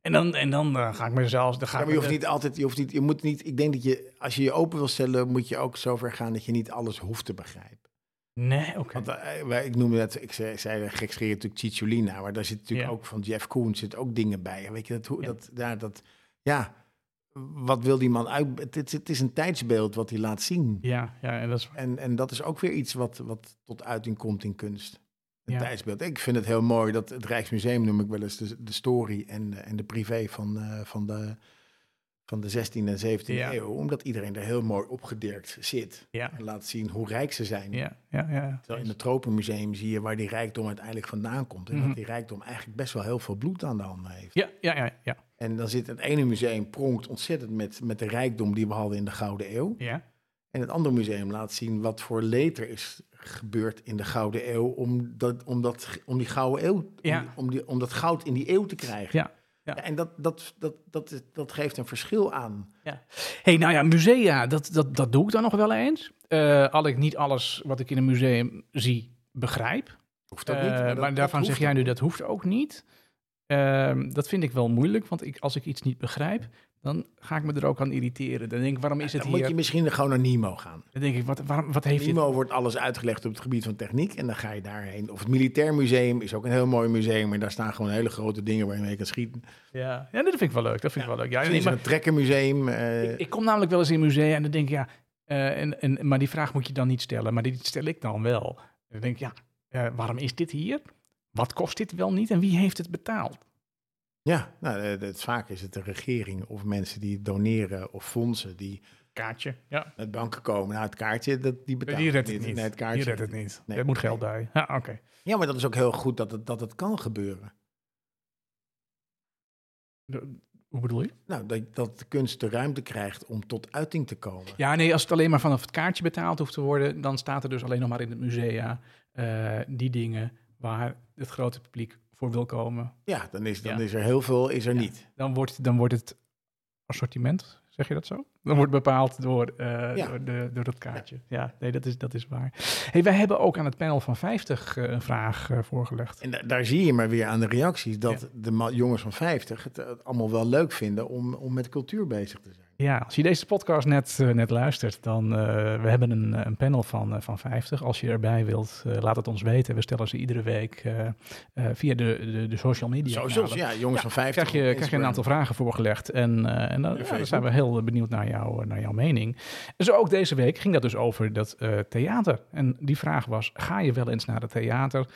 S1: En dan, en dan eh, ga ik mezelf... Dan ga
S2: Ja, maar
S1: ik
S2: je hoeft
S1: me-
S2: niet altijd, je hoeft niet, je moet niet, ik denk dat je, als je je open wil stellen, moet je ook zover gaan dat je niet alles hoeft te begrijpen.
S1: Nee, oké.
S2: Want eh, wij- ik noemde net, ik zei, zei gekscherend natuurlijk Cicciolina, maar daar zit natuurlijk
S1: Ja.
S2: ook van Jeff Koons zit ook dingen bij. En Weet je dat, hoe,
S1: Ja.
S2: dat, daar, dat, ja, wat wil die man uit? Het, is- het is een tijdsbeeld wat hij laat zien.
S1: Ja, ja, en dat is
S2: En, en dat is ook weer iets wat, wat tot uiting komt in kunst. Een
S1: Ja.
S2: tijdsbeeld. Ik vind het heel mooi dat het Rijksmuseum noem ik wel eens de, de story en, de- en de privé van, eh, van de van de 16e en 17e
S1: Ja.
S2: eeuw, omdat iedereen er heel mooi opgedirkt zit
S1: Ja,
S2: en laat zien hoe rijk ze zijn.
S1: ja, ja. ja.
S2: Terwijl in het Tropenmuseum zie je waar die rijkdom uiteindelijk vandaan komt. En
S1: Mhm.
S2: dat die rijkdom eigenlijk best wel heel veel bloed aan de handen heeft.
S1: Ja, ja, ja, ja.
S2: En dan zit het ene museum pronkt ontzettend met, met de rijkdom die we hadden in de Gouden Eeuw.
S1: ja.
S2: En het andere museum laat zien wat voor leed er is gebeurd in de Gouden Eeuw. Om, dat, om, dat, om die Gouden Eeuw, om
S1: Ja.
S2: die- om, die, om dat goud in die eeuw te krijgen.
S1: Ja, ja.
S2: En dat, dat, dat, dat, is- dat geeft een verschil aan.
S1: hey, nou ja, musea, dat, dat, dat doe ik dan nog wel eens. Eh al ik niet alles wat ik in een museum zie begrijp.
S2: Hoeft ook
S1: Eh,
S2: niet.
S1: maar
S2: dat- dat
S1: daarvan
S2: hoeft
S1: zeg
S2: ook
S1: jij nu,
S2: niet.
S1: dat hoeft ook niet. Ehm, dat vind ik wel moeilijk, want ik, als ik iets niet begrijp, dan ga ik me er ook aan irriteren. Dan denk ik, waarom is het
S2: Dan moet
S1: hier?
S2: je misschien gewoon naar Nemo gaan.
S1: Dan denk ik, wat, waarom, wat heeft dit?
S2: Nemo wordt alles uitgelegd op het gebied van techniek en dan ga je daarheen. Of het Militair Museum is ook een heel mooi museum en daar staan gewoon hele grote dingen waarmee je kan schieten.
S1: Ja. ja, dat vind ik wel leuk. Dat vind ik wel leuk. Ja,
S2: Er
S1: nee,
S2: is
S1: maar-
S2: een trekkermuseum. eh,
S1: Ik, ik kom namelijk wel eens in musea en dan denk ik, ja, eh, en, en, maar die vraag moet je dan niet stellen, maar die stel ik dan wel. En dan denk ik, ja, eh, waarom is dit hier? Wat kost dit wel niet en wie heeft het betaald?
S2: ja, nou, eh, het, vaak is het de regering of mensen die doneren of fondsen die
S1: Kaartje, ja.
S2: met banken komen. Nou, het kaartje, dat, die betaalt
S1: Die redt het niet.
S2: Nee, het kaartje.
S1: Die redt het niet.
S2: Nee.
S1: Er moet geld bij. Ja, oké.
S2: Ja, maar dat is ook heel goed dat het, dat het kan gebeuren.
S1: De- Hoe bedoel je?
S2: Nou, dat, dat de kunst de ruimte krijgt om tot uiting te komen.
S1: Ja, nee, als het alleen maar vanaf het kaartje betaald hoeft te worden, dan staat er dus alleen nog maar in het musea eh, die dingen waar het grote publiek voor wil komen.
S2: Ja, dan is, dan
S1: Ja.
S2: is er heel veel is er niet.
S1: Dan wordt, dan wordt het assortiment, zeg je dat zo? Dan wordt bepaald door, eh,
S2: Ja.
S1: door, de, door dat kaartje. Ja, nee, dat is, dat is waar. Hey, wij hebben ook aan het panel van 50 eh, een vraag eh, voorgelegd.
S2: En da- daar zie je maar weer aan de reacties dat de ma- jongens van 50 het, eh, allemaal wel leuk vinden om, om met cultuur bezig te zijn.
S1: Ja, als je deze podcast net, eh, net luistert, dan eh, we hebben een, eh, een panel van, eh, van 50. Als je erbij wilt, eh, laat het ons weten. We stellen ze iedere week eh, eh, via de, de, de social media.
S2: Zo,
S1: kanalen.
S2: zoals, ja, jongens van 50.
S1: krijg je,
S2: op
S1: krijg je een aantal
S2: Instagram.
S1: vragen voorgelegd. En, eh, en dan, ja, dan zijn we heel benieuwd naar, jou, naar jouw mening. En zo ook deze week ging dat dus over dat eh, theater. En die vraag was, ga je wel eens naar het theater?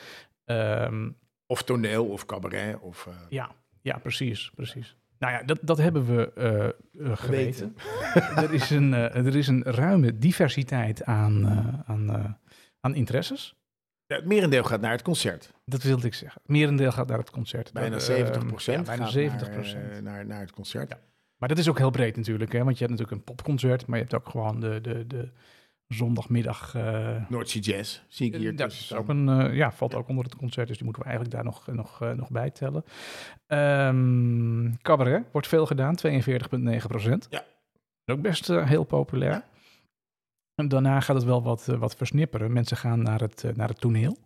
S1: Ehm,
S2: Of toneel, of cabaret, of... eh,
S1: ja, ja, precies, precies. Nou ja, dat, dat hebben we eh, eh, geweten. er, is een, eh, er is een ruime diversiteit aan, eh, aan, eh, aan interesses.
S2: ja, het merendeel gaat naar het concert.
S1: Dat wilde ik zeggen. Merendeel gaat naar het concert.
S2: Bijna 70%
S1: Dat, ehm, ja, bijna
S2: gaat
S1: 70
S2: Naar, eh, naar, naar het concert.
S1: Ja. Maar dat is ook heel breed natuurlijk, hè? want je hebt natuurlijk een popconcert, maar je hebt ook gewoon de, de, de zondagmiddag. eh,
S2: Noordzee Jazz zie ik hier.
S1: dat
S2: tussen
S1: is
S2: staan.
S1: ook een, eh, ja, valt ook onder het concert, dus die moeten we eigenlijk daar nog, nog, eh, nog bij tellen. Ehm, cabaret wordt veel gedaan, 42,9 procent.
S2: Ja.
S1: Ook best eh, heel populair.
S2: Ja.
S1: En daarna gaat het wel wat, eh, wat versnipperen. Mensen gaan naar het, eh, naar het toneel.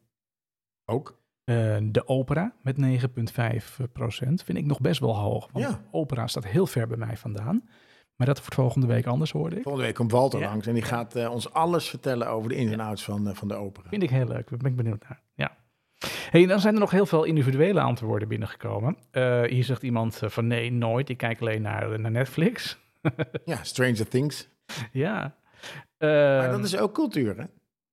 S2: Ook.
S1: Eh, de opera met 9,5 procent vind ik nog best wel hoog. Want
S2: Ja.
S1: opera staat heel ver bij mij vandaan. Maar dat wordt volgende week anders, hoorde ik.
S2: Volgende week komt Walter
S1: Ja.
S2: langs en die gaat eh, ons alles vertellen over de ins en outs van, eh, van de opera.
S1: Vind ik heel leuk. Daar ben ik benieuwd naar. Ja. Hey, dan zijn er nog heel veel individuele antwoorden binnengekomen. Eh, hier zegt iemand eh, van nee, nooit. Ik kijk alleen naar, eh, naar Netflix.
S2: Ja, Stranger Things.
S1: ja.
S2: Maar
S1: Ehm,
S2: dat is ook cultuur, hè?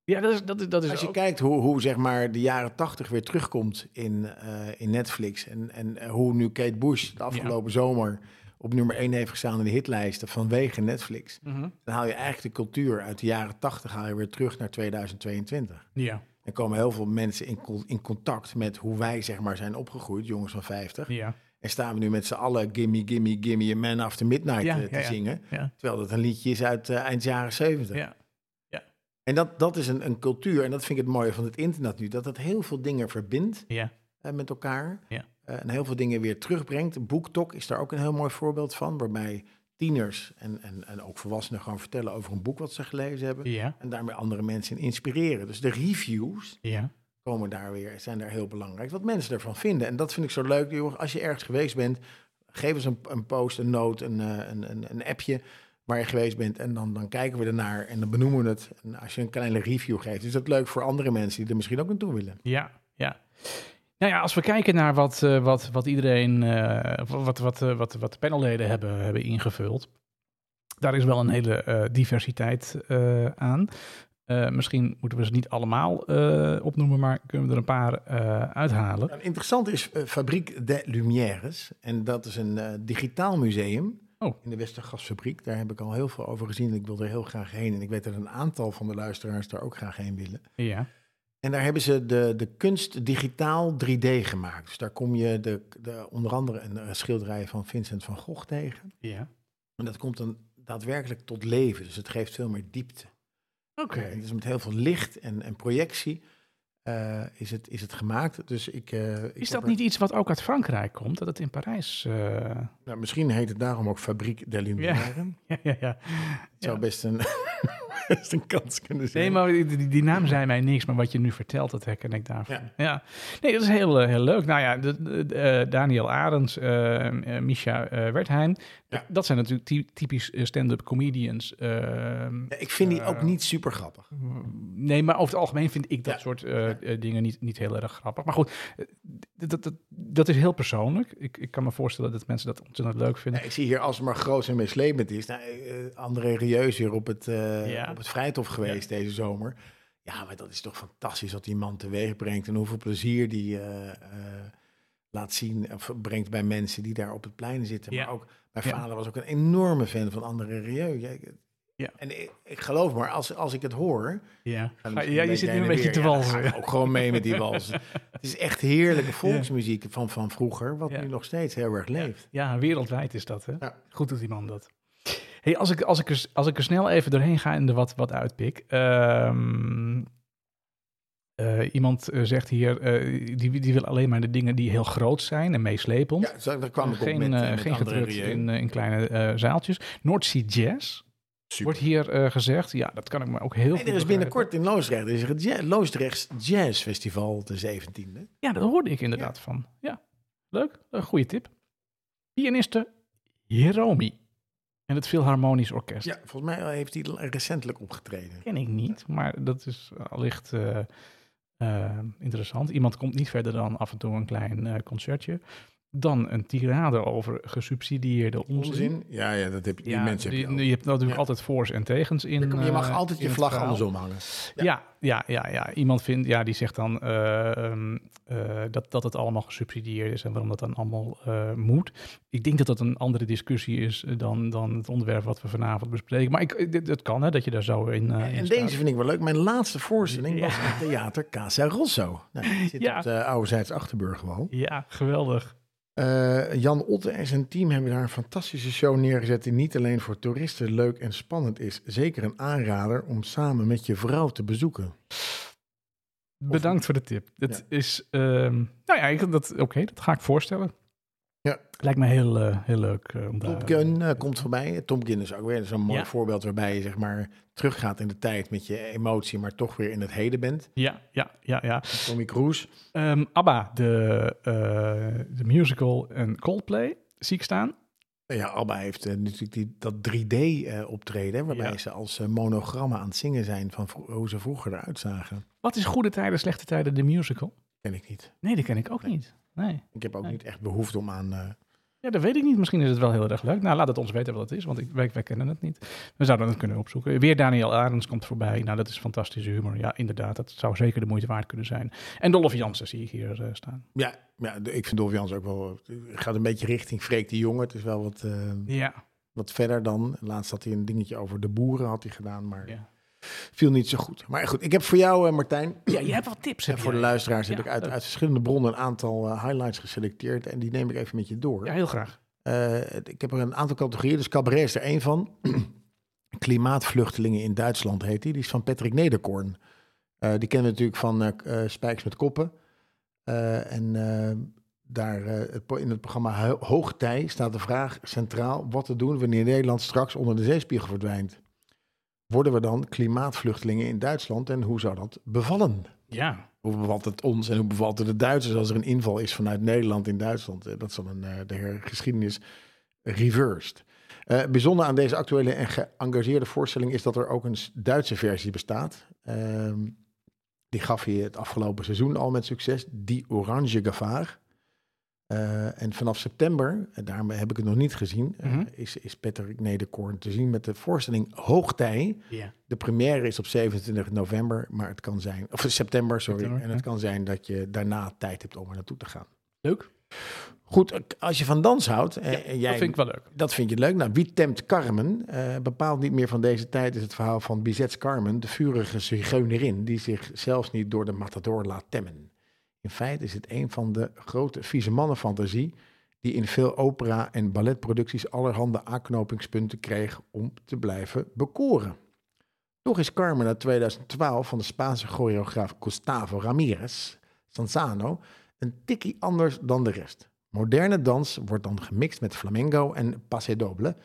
S1: ja, dat is, dat is, dat is
S2: Als je
S1: ook-
S2: kijkt hoe, hoe zeg maar de jaren tachtig weer terugkomt in, eh, in Netflix. En, en eh, hoe nu Kate Bush de afgelopen zomer op nummer 1 heeft gestaan in de hitlijsten vanwege Netflix.
S1: Mhm.
S2: Dan haal je eigenlijk de cultuur uit de jaren tachtig haal je weer terug naar 2022.
S1: Ja,
S2: Dan komen heel veel mensen in, con- in contact met hoe wij zeg maar zijn opgegroeid, jongens van 50.
S1: ja,
S2: En staan we nu met z'n allen Gimme, Gimme, Gimme, A Man After Midnight
S1: Ja,
S2: eh, te
S1: ja, ja.
S2: zingen.
S1: ja.
S2: Terwijl dat een liedje is uit eh, eind jaren 70.
S1: ja.
S2: En dat, dat is een, een cultuur, en dat vind ik het mooie van het internet nu, dat het heel veel dingen verbindt
S1: ja.
S2: eh, met elkaar.
S1: Ja.
S2: Eh, en heel veel dingen weer terugbrengt. BookTok is daar ook een heel mooi voorbeeld van, waarbij tieners en, en, en ook volwassenen gewoon vertellen over een boek wat ze gelezen hebben.
S1: ja.
S2: En daarmee andere mensen in inspireren. Dus de reviews
S1: ja.
S2: komen daar weer, zijn daar heel belangrijk. Wat mensen ervan vinden. En dat vind ik zo leuk. joh. Als je ergens geweest bent, geef eens een, een post, een note, een, eh, een, een, een appje waar je geweest bent. En dan, dan kijken we ernaar en dan benoemen we het. En als je een kleine review geeft, is dat leuk voor andere mensen die er misschien ook naartoe willen.
S1: Ja, ja. Nou ja, als we kijken naar wat, eh, wat, wat iedereen, eh, wat, wat, eh, wat, wat de panelleden hebben, hebben ingevuld. Daar is wel een hele eh, diversiteit eh, aan. Eh, misschien moeten we ze niet allemaal eh, opnoemen, maar kunnen we er een paar eh, uithalen.
S2: Nou, interessant is eh, Fabriek de Lumières. En dat is een eh, digitaal museum.
S1: Oh.
S2: In de Westergasfabriek. Daar heb ik al heel veel over gezien. en Ik wil er heel graag heen. En ik weet dat een aantal van de luisteraars daar ook graag heen willen.
S1: Ja,
S2: En daar hebben ze de, de kunst digitaal 3D gemaakt. Dus daar kom je de, de, onder andere een eh, schilderij van Vincent van Gogh tegen.
S1: ja.
S2: En dat komt dan daadwerkelijk tot leven. Dus het geeft veel meer diepte.
S1: Oké.
S2: En Dus met heel veel licht en, en projectie eh, is, het, is het gemaakt. Dus ik, eh, ik
S1: Is
S2: heb
S1: dat
S2: er-
S1: niet iets wat ook uit Frankrijk komt, dat het in Parijs... eh,
S2: Nou, misschien heet het daarom ook Fabriek de Lumière.
S1: ja, ja, ja.
S2: Het zou best een, best een kans kunnen zien.
S1: Nee, maar die, die- die naam zei mij niks, maar wat je nu vertelt, dat herken ik daarvan. Ja.
S2: Ja.
S1: Nee, dat is heel, eh, heel leuk. Nou ja, de, de- de, eh, Daniel Arends, eh, eh, Misha eh, Wertheim,
S2: Ja.
S1: dat zijn natuurlijk ty- typisch eh, stand-up comedians. Ehm,
S2: Ja, ik vind die ook niet super grappig.
S1: Nee, maar over het algemeen vind ik dat
S2: Ja.
S1: soort eh, eh, dingen niet, niet heel erg grappig. Maar goed, eh, dat, dat, dat, dat is heel persoonlijk. Ik, ik kan me voorstellen dat mensen dat ontzettend leuk vinden.
S2: Ja, ik zie hier, als het maar groot en meeslepend is... Nou, eh, André Rieu is hier op het, eh,
S1: Ja.
S2: op het Vrijthof geweest deze zomer. Ja, maar dat is toch fantastisch wat die man teweeg brengt... en hoeveel plezier die eh, eh, laat zien of brengt bij mensen die daar op het plein zitten.
S1: Ja.
S2: Maar ook, mijn
S1: Ja.
S2: vader was ook een enorme fan van André Rieu. Ja, ik-
S1: Ja.
S2: En ik, ik geloof maar, als, als ik het hoor...
S1: Ja,
S2: Ja,
S1: Ga-
S2: misschien
S1: ja
S2: ben
S1: je
S2: ik
S1: zit nu
S2: heen
S1: een
S2: en
S1: beetje te
S2: weer. Ja, dan
S1: walsen.
S2: ga ik ook gewoon mee met die wals. Het is echt heerlijke volksmuziek van, van vroeger, wat
S1: Ja.
S2: nu nog steeds heel erg leeft.
S1: Ja, wereldwijd is dat. Hè?
S2: Ja.
S1: Goed doet die man dat. Hey, als, ik, als, ik er, als ik er snel even doorheen ga en er wat, wat uitpik. Ehm, eh, iemand eh, zegt hier, eh, die, die wil alleen maar de dingen die heel groot zijn en meeslepend.
S2: Ja, zo- daar kwam ik op
S1: geen
S2: met, eh,
S1: eh,
S2: met
S1: geen
S2: André
S1: gedrukt
S2: Rieu.
S1: in, eh, in kleine eh, zaaltjes. North Sea Jazz
S2: Super.
S1: wordt hier eh, gezegd. Ja, dat kan ik me ook heel
S2: Nee,
S1: goed
S2: er is
S1: begrijpen.
S2: binnenkort in Loosdrecht er is er het ja Loosdrechts Jazz Festival de 17e.
S1: Ja, daar hoorde ik inderdaad van. Ja, leuk. Een goede tip. Pianiste Hiromi. En het Philharmonisch Orkest.
S2: Ja, volgens mij heeft hij recentelijk opgetreden.
S1: ken ik niet, maar dat is allicht eh, eh, interessant. Iemand komt niet verder dan af en toe een klein eh, concertje. Dan een tirade over gesubsidieerde onzin.
S2: Onzin? Ja, ja dat heb, je- die
S1: Ja,
S2: mensen heb
S1: die-
S2: je ook.
S1: je hebt natuurlijk
S2: Ja.
S1: altijd voor's en tegens in.
S2: Je mag
S1: eh,
S2: altijd
S1: in
S2: je
S1: het
S2: vlag
S1: verhaal.
S2: andersom hangen.
S1: Ja, ja, ja, ja. Iemand vindt, ja, die zegt dan eh, ehm, eh, dat, dat het allemaal gesubsidieerd is en waarom dat dan allemaal eh, moet. Ik denk dat dat een andere discussie is dan, dan het onderwerp wat we vanavond bespreken. Maar ik, dit- het kan, hè, dat je daar zo in. eh, in
S2: en
S1: staat.
S2: deze vind ik wel leuk. Mijn laatste voorstelling was
S1: Ja.
S2: in theater Casa Rosso. Nou, die zit
S1: Ja.
S2: op de oude Zijds Achterburg gewoon.
S1: Ja, geweldig.
S2: Eh, Jan Otte en zijn team hebben daar een fantastische show neergezet die niet alleen voor toeristen leuk en spannend is, zeker een aanrader om samen met je vrouw te bezoeken.
S1: Bedankt voor de tip. Dat is, ehm, nou ja, ik, dat, oké, dat ga ik voorstellen.
S2: Ja.
S1: Lijkt me heel, eh, heel leuk eh, om daar...
S2: Top Gun eh, komt voorbij. Top Gun is ook weer zo'n mooi
S1: Ja.
S2: voorbeeld waarbij je zeg maar teruggaat in de tijd met je emotie, maar toch weer in het heden bent.
S1: Ja, ja, ja, ja.
S2: Tommy Cruise.
S1: Ehm, ABBA, de, eh, de musical en Coldplay zie ik staan.
S2: Nou Ja, Abba heeft eh, natuurlijk die, dat 3D-optreden, waarbij
S1: Ja.
S2: ze als eh, monogrammen aan het zingen zijn van vro- hoe ze vroeger eruit zagen.
S1: Wat is Goede Tijden, Slechte Tijden, de musical?
S2: Ken ik niet.
S1: Nee, die ken ik ook niet. Nee.
S2: Ik heb ook
S1: Nee.
S2: niet echt behoefte om aan eh,
S1: Ja, dat weet ik niet. Misschien is het wel heel erg leuk. Nou, laat het ons weten wat het is, want ik, wij, wij kennen het niet. We zouden het kunnen opzoeken. Weer Daniel Arends komt voorbij. Nou, dat is fantastische humor. Ja, inderdaad. Dat zou zeker de moeite waard kunnen zijn. En Dolph Jansen zie ik hier eh, staan.
S2: Ja, ja, de- ik vind Dolf Jans ook wel... het gaat een beetje richting Freek de Jonge. Het is wel wat, eh,
S1: Ja.
S2: wat verder dan. Laatst had hij een dingetje over de boeren had hij gedaan, maar
S1: Ja.
S2: viel niet zo goed. Maar goed, ik heb voor jou, eh, Martijn,
S1: ja, je hebt wat tips.
S2: en
S1: heb
S2: voor de
S1: jij.
S2: luisteraars...
S1: Ja,
S2: heb ik uit,
S1: leuk.
S2: uit verschillende bronnen een aantal eh, highlights geselecteerd. En die neem ik even met je door.
S1: Ja, heel graag.
S2: Eh, ik heb er een aantal categorieën, dus cabaret is er één van. Klimaatvluchtelingen in Duitsland heet die. Die is van Patrick Nederkorn. Eh, die kennen we natuurlijk van eh, k- eh, Spijks met Koppen. Eh, en eh, daar eh, het po- in het programma Ho- Hoogtij staat de vraag centraal... wat te doen wanneer Nederland straks onder de zeespiegel verdwijnt. Worden we dan klimaatvluchtelingen in Duitsland en hoe zou dat bevallen?
S1: Ja.
S2: Hoe bevalt het ons en hoe bevalt het de Duitsers als er een inval is vanuit Nederland in Duitsland? Eh, Dat is dan een, eh, de her- geschiedenis reversed. Eh bijzonder aan deze actuele en geëngageerde voorstelling is dat er ook een s- Duitse versie bestaat. Ehm, die gaf hij het afgelopen seizoen al met succes, Die Oranje Gevaar. Eh, en vanaf september, en daarmee heb ik het nog niet gezien, eh,
S1: Mhm.
S2: is, is Patrick Nederkoorn te zien met de voorstelling Hoogtij.
S1: Ja.
S2: De première is op 27 november, maar het kan zijn, of september, sorry.
S1: September,
S2: en het kan zijn dat je daarna tijd hebt om er naartoe te gaan.
S1: Leuk.
S2: Goed, als je van dans houdt, eh, en jij,
S1: Dat vind ik wel leuk.
S2: je leuk. Nou, Wie temt Carmen? Eh, bepaald niet meer van deze tijd is het verhaal van Bizet Carmen, de vurige zigeunerin, die zich zelfs niet door de matador laat temmen. In feite is het een van de grote vieze mannenfantasie, die in veel opera- en balletproducties allerhande aanknopingspunten kreeg om te blijven bekoren. Toch is Carmen uit 2012 van de Spaanse choreograaf Gustavo Ramirez Sanzano een tikkie anders dan de rest. Moderne dans wordt dan gemixt met flamenco en passe doble.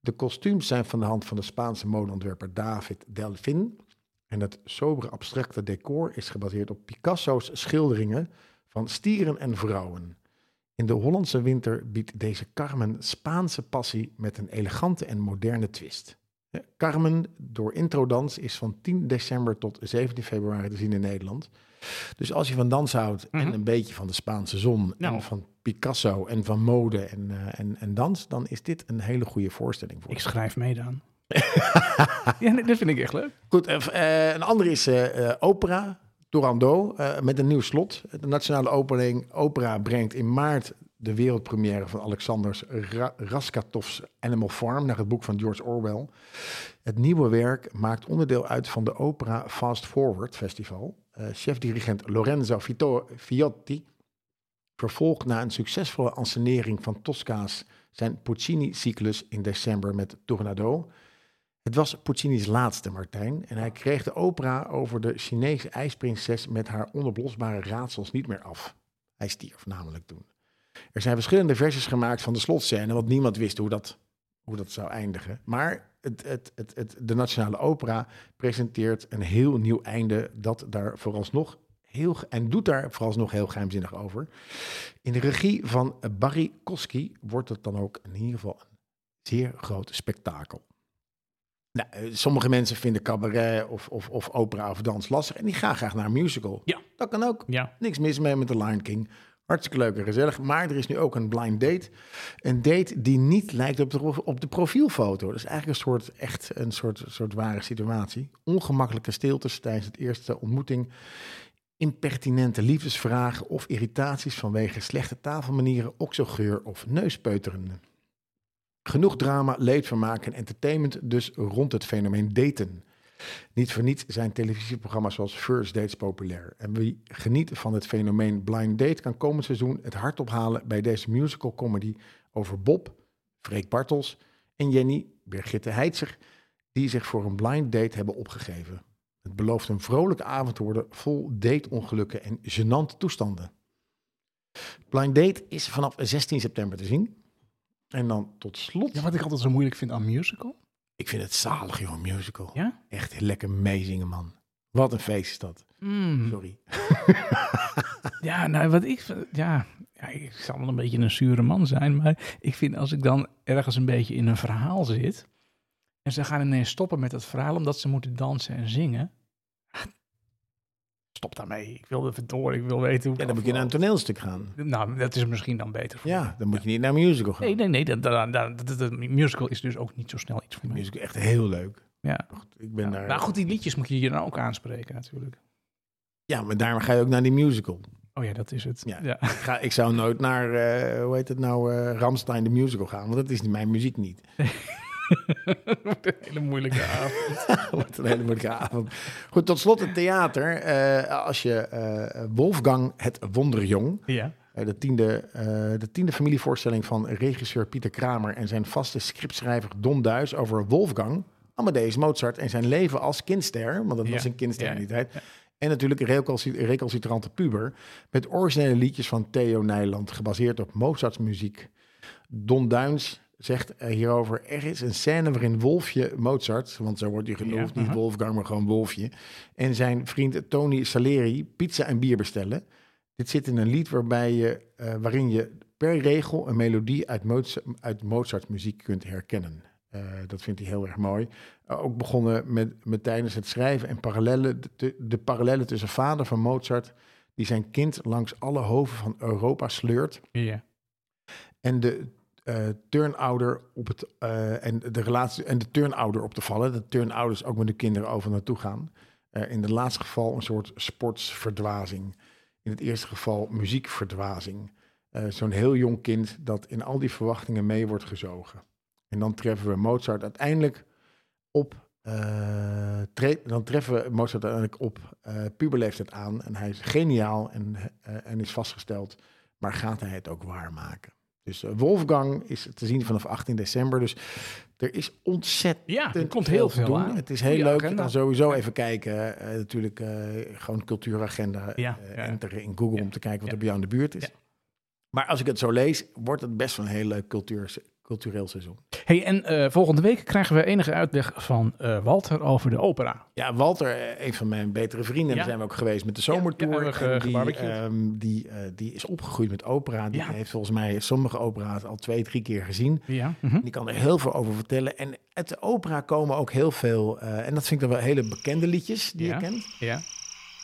S2: De kostuums zijn van de hand van de Spaanse modeontwerper David Delfin. En het sobere abstracte decor is gebaseerd op Picasso's schilderingen van stieren en vrouwen. In de Hollandse winter biedt deze Carmen Spaanse passie met een elegante en moderne twist. Eh, Carmen door introdans is van 10 december tot 17 februari te zien in Nederland. Dus als je van dans houdt
S1: Mhm.
S2: en een beetje van de Spaanse zon
S1: Nou.
S2: en van Picasso en van mode en, eh, en, en dans, dan is dit een hele goede voorstelling voor.
S1: Ik
S2: je.
S1: schrijf mee dan. ja, nee, dat vind ik echt leuk.
S2: Goed, eh, v- eh, een andere is eh, eh, opera, Turandot, eh, met een nieuw slot. De Nationale opening, Opera brengt in maart de wereldpremière van Alexander Ra- Raskatovs Animal Farm naar het boek van George Orwell. Het nieuwe werk maakt onderdeel uit van de opera Fast Forward Festival. Eh, Chef-dirigent Lorenzo Fito- Fiotti vervolgt na een succesvolle ansenering van Tosca's zijn Puccini-cyclus in december met Tornado. Het was Puccini's laatste, Martijn, en hij kreeg de opera over de Chinese ijsprinses met haar onoplosbare raadsels niet meer af. Hij stierf namelijk toen. Er zijn verschillende versies gemaakt van de slotscène, want niemand wist hoe dat, hoe dat zou eindigen. Maar het, het, het, het, de Nationale Opera presenteert een heel nieuw einde dat daar vooralsnog heel, en doet daar vooralsnog heel geheimzinnig over. In de regie van Barry Koski wordt het dan ook in ieder geval een zeer groot spektakel. Nou, eh, sommige mensen vinden cabaret of, of, of opera of dans lastig en die gaan graag naar een musical.
S1: Ja.
S2: Dat kan ook.
S1: Ja.
S2: Niks mis mee met de Lion King. Hartstikke leuk en gezellig. Maar er is nu ook een blind date. Een date die niet lijkt op de, op de profielfoto. Dat is eigenlijk een soort, echt een soort, soort ware situatie. Ongemakkelijke stiltes tijdens het eerste ontmoeting. Impertinente liefdesvragen of irritaties vanwege slechte tafelmanieren, oksogeur of neuspeuteren. Genoeg drama, leedvermaak en entertainment dus rond het fenomeen daten. Niet voor niets zijn televisieprogramma's zoals First Dates populair. En wie geniet van het fenomeen Blind Date kan komend seizoen het hart ophalen bij deze musical comedy over Bob, Freek Bartels en Jenny Birgitte Heitzer, die zich voor een blind date hebben opgegeven. Het belooft een vrolijke avond te worden vol dateongelukken en gênante toestanden. Blind Date is vanaf 16 september te zien. En dan tot slot...
S1: ja, wat ik altijd zo moeilijk vind aan musical.
S2: Ik vind het zalig, joh, een musical.
S1: Ja?
S2: Echt lekker meezingen, man. Wat een feest is dat.
S1: Mm.
S2: Sorry.
S1: Ja, nou, wat ik. Ja, ja, ik zal wel een beetje een zure man zijn. Maar ik vind als ik dan ergens een beetje in een verhaal zit. en ze gaan ineens stoppen met dat verhaal omdat ze moeten dansen en zingen. ah, Stop daarmee. Ik wil er door. Ik wil weten
S2: Ja,
S1: hoe. het
S2: dan moet je naar een
S1: afloopt.
S2: toneelstuk gaan.
S1: Nou, dat is misschien dan beter voor
S2: Ja, dan moet je niet naar een musical gaan.
S1: Nee, nee, nee. Dat, dat, dat- dat- dat- musical is dus ook niet zo snel iets voor
S2: Een
S1: mij.
S2: musical echt heel leuk.
S1: Ja.
S2: Ik ben daar...
S1: Nou goed, die liedjes moet je je dan ook aanspreken natuurlijk.
S2: Ja, maar daarom ga je ook naar die musical.
S1: Oh ja, dat is het.
S2: Ja.
S1: ja.
S2: Ik, ga, ik zou nooit naar, eh, hoe heet het nou, eh Ramstein de musical gaan, want dat is niet mijn muziek niet.
S1: Dat wordt een hele moeilijke avond.
S2: Wat een hele moeilijke avond. Goed, tot slot het theater. Eh, als je eh, Wolfgang het Wonderjong,
S1: Ja.
S2: Eh, De tiende, eh, de tiende familievoorstelling van regisseur Pieter Kramer en zijn vaste scriptschrijver Don Duis over Wolfgang, Amadeus Mozart en zijn leven als kindster, want dat
S1: Ja,
S2: was een kindster
S1: ja,
S2: in die tijd. En natuurlijk recalci- recalcitrante puber, met originele liedjes van Theo Nijland, gebaseerd op Mozarts muziek. Don Duins zegt eh, hierover, er is een scène waarin Wolfje Mozart, want zo wordt hij genoemd,
S1: Ja,
S2: niet
S1: aha.
S2: Wolfgang, maar gewoon Wolfje, en zijn vriend Tony Saleri pizza en bier bestellen. Dit zit in een lied waarbij je, eh, waarin je per regel een melodie uit, Mozart, uit Mozart's muziek kunt herkennen. Eh, dat vindt hij heel erg mooi. Eh, ook begonnen met, met tijdens het schrijven en parallellen, de, de parallellen tussen vader van Mozart, die zijn kind langs alle hoven van Europa sleurt,
S1: Ja.
S2: en de eh, turnouder op het eh, en de relatie en de turnouder op te vallen. Dat turnouders ook met de kinderen over naartoe gaan. Eh, in het laatste geval een soort sportsverdwazing. In het eerste geval muziekverdwazing. Eh, Zo'n heel jong kind dat in al die verwachtingen mee wordt gezogen. En dan treffen we Mozart uiteindelijk op. eh, tre- dan treffen we Mozart uiteindelijk op eh puberleeftijd aan. En hij is geniaal en, eh, en is vastgesteld. Maar gaat hij het ook waarmaken? Dus eh, Wolfgang is te zien vanaf 18 december. Dus er is ontzettend
S1: Ja, er komt heel
S2: te
S1: veel
S2: doen.
S1: aan.
S2: Het is heel
S1: Goeie
S2: leuk. Je
S1: agenda.
S2: kan sowieso even kijken. eh, natuurlijk eh, gewoon cultuuragenda eh,
S1: Ja, ja.
S2: enteren in Google
S1: Ja,
S2: om te kijken wat
S1: ja.
S2: er bij jou in de buurt is.
S1: Ja.
S2: Maar als ik het zo lees, wordt het best wel een heel leuk cultuur, cultureel seizoen.
S1: Hey, en eh, volgende week krijgen we enige uitleg van eh, Walter over de opera.
S2: Ja, Walter, eh, een van mijn betere vrienden,
S1: Ja.
S2: daar zijn we ook geweest met de zomertour.
S1: Ja, ja, we hebben
S2: En
S1: ge-
S2: die,
S1: gebarbecued.
S2: ehm, die, eh, die is opgegroeid met opera. Die
S1: Ja.
S2: heeft volgens mij sommige opera's al twee, drie keer gezien.
S1: Ja. mhm.
S2: En Die kan er heel veel over vertellen. En uit de opera komen ook heel veel, eh, en dat vind ik dan wel hele bekende liedjes die
S1: Ja.
S2: je kent.
S1: ja.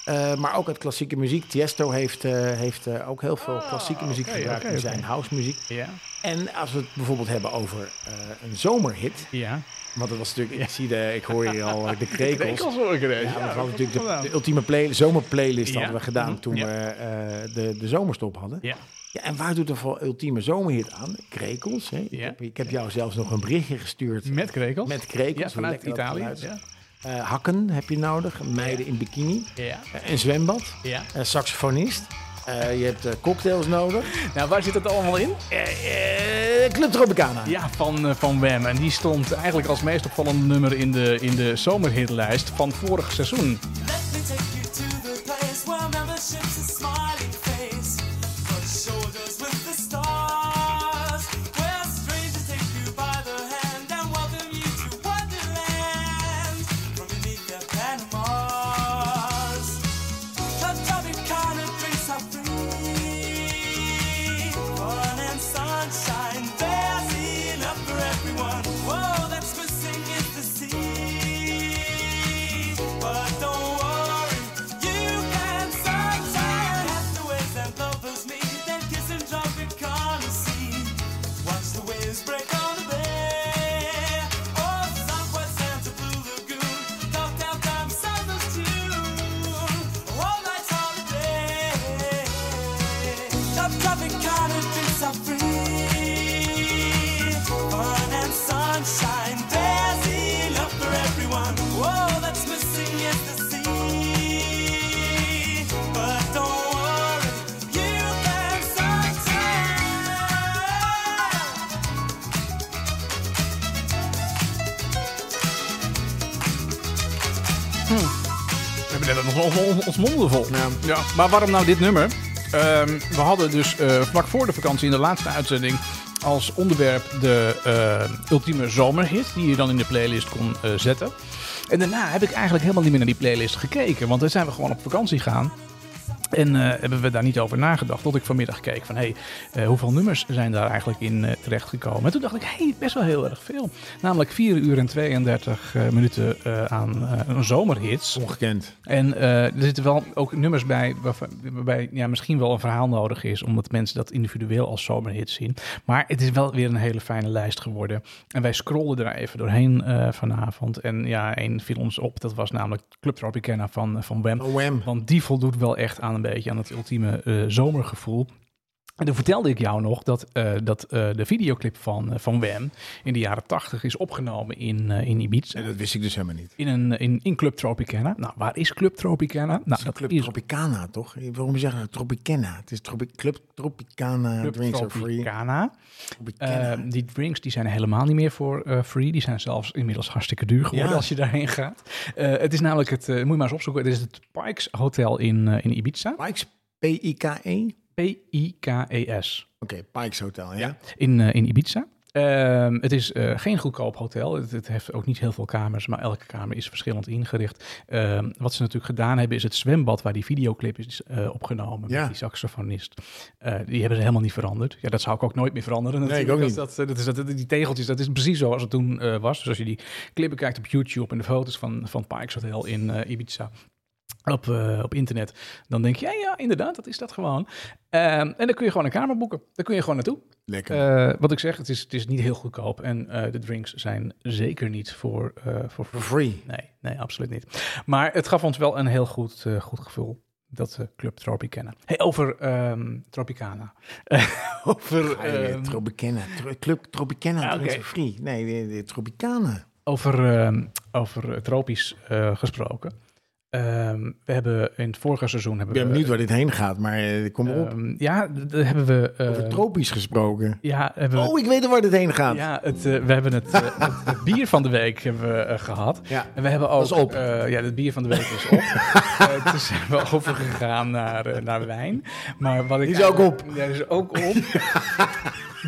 S2: Eh, maar ook uit klassieke muziek. Tiesto heeft, eh, heeft eh, ook heel veel
S1: Ah,
S2: klassieke muziek
S1: oké,
S2: gebruikt
S1: oké,
S2: in
S1: oké.
S2: zijn housemuziek.
S1: Ja.
S2: En als we het bijvoorbeeld hebben over eh, een zomerhit.
S1: Ja.
S2: Want dat was natuurlijk, ik, zie de, ik hoor hier al eh, de krekels.
S1: hoor ik er
S2: Ja, we hadden natuurlijk de, de
S1: vandaan.
S2: ultieme play, zomerplaylist
S1: Ja.
S2: hadden we gedaan
S1: Mhm.
S2: toen
S1: Ja.
S2: we eh, de, de zomerstop hadden.
S1: Ja.
S2: Ja, en waar doet er voor ultieme zomerhit aan? Krekels. Hè? Ik,
S1: Ja.
S2: heb, ik heb jou zelfs nog een berichtje gestuurd
S1: Met krekels.
S2: met krekels.
S1: ja,
S2: hoe
S1: vanuit
S2: lekker dat
S1: Italië.
S2: geluid is.
S1: Ja.
S2: Eh, hakken heb je nodig, meiden in bikini,
S1: Ja.
S2: eh, een zwembad,
S1: ja.
S2: een saxofonist. Eh, je hebt eh, cocktails nodig.
S1: Nou, waar zit het allemaal in?
S2: Eh, eh, Club Tropicana.
S1: Ja, van, eh, van Wem. En die stond eigenlijk als meest opvallend nummer in de, in de zomerhitlijst van vorig seizoen.
S3: Let me take you to the place where membership's a smiling face. But shoulders with the stars. Where strangers take you by the hand and welcome you to Wonderland. From beneath their Panamas. Club Tropicana drinks are free. Fun and sunshine, there's enough for everyone. Whoa, that's missing is the sea. But don't worry, you can sunshine. Castaways and lovers meet, then kiss in Tropicana sea. Watch the waves break on the bay. Oh, Southwest Santa Blue Lagoon, cocktail time, Southern's tune. All night's holiday. Top Tropicana drinks are free. Fun and sunshine, there's enough for everyone. Whoa, that's missing is the sea. But don't worry, you can sunshine.
S1: We hebben net nog on- on- ons monden vol.
S2: Ja.
S1: Ja, maar waarom nou dit nummer? Ehm, we hadden dus eh, vlak voor de vakantie in de laatste uitzending als onderwerp de eh, ultieme zomerhit die je dan in de playlist kon eh, zetten. En daarna heb ik eigenlijk helemaal niet meer naar die playlist gekeken, want dan zijn we gewoon op vakantie gegaan. En eh, hebben we daar niet over nagedacht. Tot ik vanmiddag keek van, hé, hey, eh, hoeveel nummers zijn daar eigenlijk in terecht terechtgekomen? En toen dacht ik, hé, hey, best wel heel erg veel. Namelijk 4 uur en 32 eh, minuten eh, aan eh, zomerhits.
S2: Ongekend.
S1: En eh, er zitten wel ook nummers bij waarvan- waarbij ja, misschien wel een verhaal nodig is, omdat mensen dat individueel als zomerhit zien. Maar het is wel weer een hele fijne lijst geworden. En wij scrollen er even doorheen eh, vanavond. En ja, één viel ons op, dat was namelijk Club Tropicana van, eh, van Wem.
S2: Oh, wham.
S1: Want die voldoet wel echt aan een beetje aan het ultieme eh, zomergevoel. En toen vertelde ik jou nog dat, eh, dat eh, de videoclip van, eh, van Wem in de jaren tachtig is opgenomen in, eh, in Ibiza.
S2: En dat wist ik dus helemaal niet.
S1: In, een, in, in Club Tropicana. Nou, waar is Club Tropicana? Nou,
S2: Dat
S1: dat
S2: Club
S1: is
S2: Tropicana, toch? Eh, Waarom zeggen we Tropicana? Het is Tropi- Club Tropicana,
S1: Club
S2: Drinks are Free.
S1: Tropicana.
S2: Tropicana.
S1: Eh, die drinks die zijn helemaal niet meer voor eh, free. Die zijn zelfs inmiddels hartstikke duur geworden
S2: Ja.
S1: als je daarheen gaat. Eh, het is namelijk het, eh, moet je maar eens opzoeken, het is het Pikes Hotel in, eh, in Ibiza.
S2: Pikes, P-I-K-E?
S1: P-I-K-E-S.
S2: E? Oké, Pikes Hotel, ja.
S1: in, eh, in Ibiza. Ehm, het is eh, geen goedkoop hotel. Het, het heeft ook niet heel veel kamers, maar elke kamer is verschillend ingericht. Ehm, wat ze natuurlijk gedaan hebben, is het zwembad waar die videoclip is eh, opgenomen
S2: Ja.
S1: met die saxofonist. Eh, die hebben ze helemaal niet veranderd. Ja, dat zou ik ook nooit meer veranderen. natuurlijk.
S2: ook
S1: Dat-
S2: niet.
S1: Dat, dat is, dat, die tegeltjes, dat is precies zoals het toen eh, was. Dus als je die clippen kijkt op YouTube en de foto's van, van Pikes Hotel in eh, Ibiza, op, eh, op internet, dan denk je, ja, ja, inderdaad, dat is dat gewoon. Ehm, en dan kun je gewoon een kamer boeken. Daar kun je gewoon naartoe.
S2: Lekker.
S1: Eh, wat ik zeg, het is, het is niet heel goedkoop. En eh, de drinks zijn zeker niet voor, eh, voor
S2: For free.
S1: Nee, nee, absoluut niet. Maar het gaf ons wel een heel goed, eh, goed gevoel. Dat eh, Club Tropicana. Hey, over ehm, Tropicana. over,
S2: Ah, eh,
S1: ehm,
S2: Tropicana. Tro- Club Tropicana,
S1: Ah,
S2: Drinks
S1: oké.
S2: are Free. Nee, de, de Tropicana.
S1: over, ehm, over eh, tropisch eh, gesproken. Ehm, we hebben in het vorige seizoen...
S2: Ik
S1: Hebben
S2: ben
S1: we,
S2: benieuwd waar dit heen gaat, maar eh, kom op.
S1: ehm, ja, d- daar hebben we... eh,
S2: Over tropisch gesproken.
S1: ja, hebben we,
S2: Oh, ik weet waar dit heen gaat.
S1: ja het, eh, we hebben het, eh, het, het bier van de week hebben we, eh, gehad.
S2: Ja.
S1: En we hebben ook...
S2: is op.
S1: eh, ja, het bier van de week is op. Eh, dus zijn we overgegaan naar, eh, naar wijn. Maar wat ik
S2: Die is ook op.
S1: Ja, die is ook op.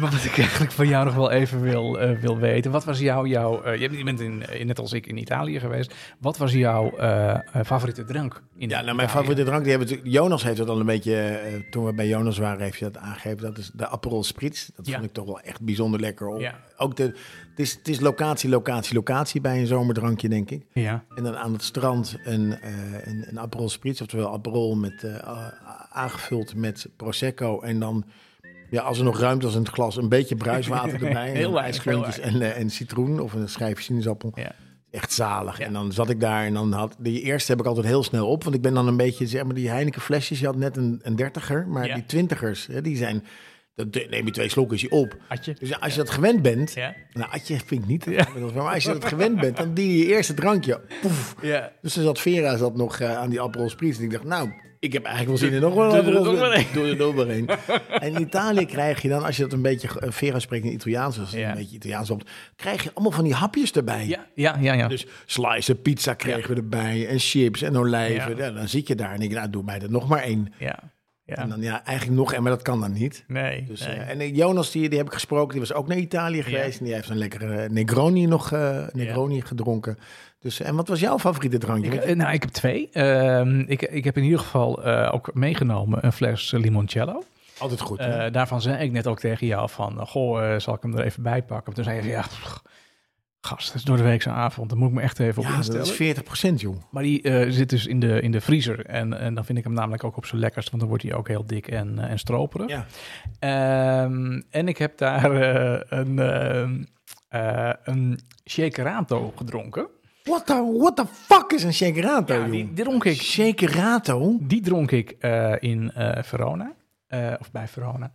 S1: Wat ik eigenlijk van jou nog wel even wil, eh, wil weten. Wat was jouw... jouw eh, je bent in, eh, net als ik in Italië geweest. Wat was jouw eh, eh, favoriete drank? In
S2: Ja, nou,
S1: Italië?
S2: mijn favoriete drank, die hebben we natuurlijk- Jonas heeft dat al een beetje, eh, toen we bij Jonas waren, heeft hij dat aangegeven. Dat is de Aperol Spritz. Dat
S1: Ja.
S2: vond ik toch wel echt bijzonder lekker. Ook-
S1: Ja.
S2: Ook de, het, is, het is locatie, locatie, locatie bij een zomerdrankje, denk ik.
S1: Ja.
S2: En dan aan het strand een, eh een, een Aperol Spritz, oftewel Aperol met, eh, a- aangevuld met Prosecco. En dan, ja, als er nog ruimte was in het glas, een beetje bruiswater erbij.
S1: Heel
S2: En
S1: weinig,
S2: ijsklontjes
S1: heel
S2: en, eh, en citroen of een schijfje sinaasappel.
S1: ja.
S2: Echt zalig.
S1: Ja.
S2: En dan zat ik daar en dan had... Die eerste heb ik altijd heel snel op. Want ik ben dan een beetje, zeg maar, die Heineken flesjes. Je had net een, een dertiger, maar
S1: Ja.
S2: die twintigers, hè, die zijn... Dan te- neem je twee slokjes je op.
S1: Atje.
S2: Dus als je dat gewend bent...
S1: Ja.
S2: Nou, Atje vind ik niet. inmiddels, Maar als je dat gewend bent, dan die je eerste drankje. Poef.
S1: Ja.
S2: Dus dan zat Vera zat nog eh, aan die Aperol Spritz. En ik dacht, nou, ik heb eigenlijk wel zin in nog wel
S1: Doe
S2: een
S1: er
S2: Aperol
S1: nog maar
S2: Spritz. Doe er nog maar één. En in Italië krijg je dan, als je dat een beetje... eh, Vera spreekt in Italiaans, dus
S1: Ja.
S2: een beetje Italiaans op. Krijg je allemaal van die hapjes erbij.
S1: Ja, ja, ja. ja.
S2: Dus slicen pizza kregen we erbij en chips en olijven.
S1: Ja.
S2: Ja, dan zit je daar en denk ik, nou doe mij er nog maar één.
S1: ja. ja.
S2: En dan ja, eigenlijk nog één, maar dat kan dan niet.
S1: nee.
S2: Dus,
S1: nee.
S2: eh, en eh, Jonas, die, die heb ik gesproken, die was ook naar Italië geweest. En die heeft een lekkere eh, Negroni nog eh, Negroni gedronken. Dus, eh, en wat was jouw favoriete drankje?
S1: Ik, eh, nou, ik heb twee. Ehm, ik, ik heb in ieder geval eh, ook meegenomen een fles eh, limoncello.
S2: Altijd goed.
S1: Eh,
S2: hè?
S1: daarvan zei ik net ook tegen jou van, eh, goh, eh, zal ik hem er even bij pakken? Toen zei je, ja, pff, gast, het is door de weekse avond, daar moet ik me echt even op
S2: ja,
S1: instellen.
S2: dat is 40% joh.
S1: Maar die eh, zit dus in de, in de vriezer en, en dan vind ik hem namelijk ook op zijn lekkerst, want dan wordt hij ook heel dik en, eh, en stroperig.
S2: Ja.
S1: Ehm, en ik heb daar eh, een, ehm eh een shakerato gedronken.
S2: What the, what the fuck is een shakerato,
S1: Ja,
S2: joh?
S1: die, die dronk ik
S2: Shakerato?
S1: Die dronk ik eh, in eh, Verona. Eh, of bij Verona.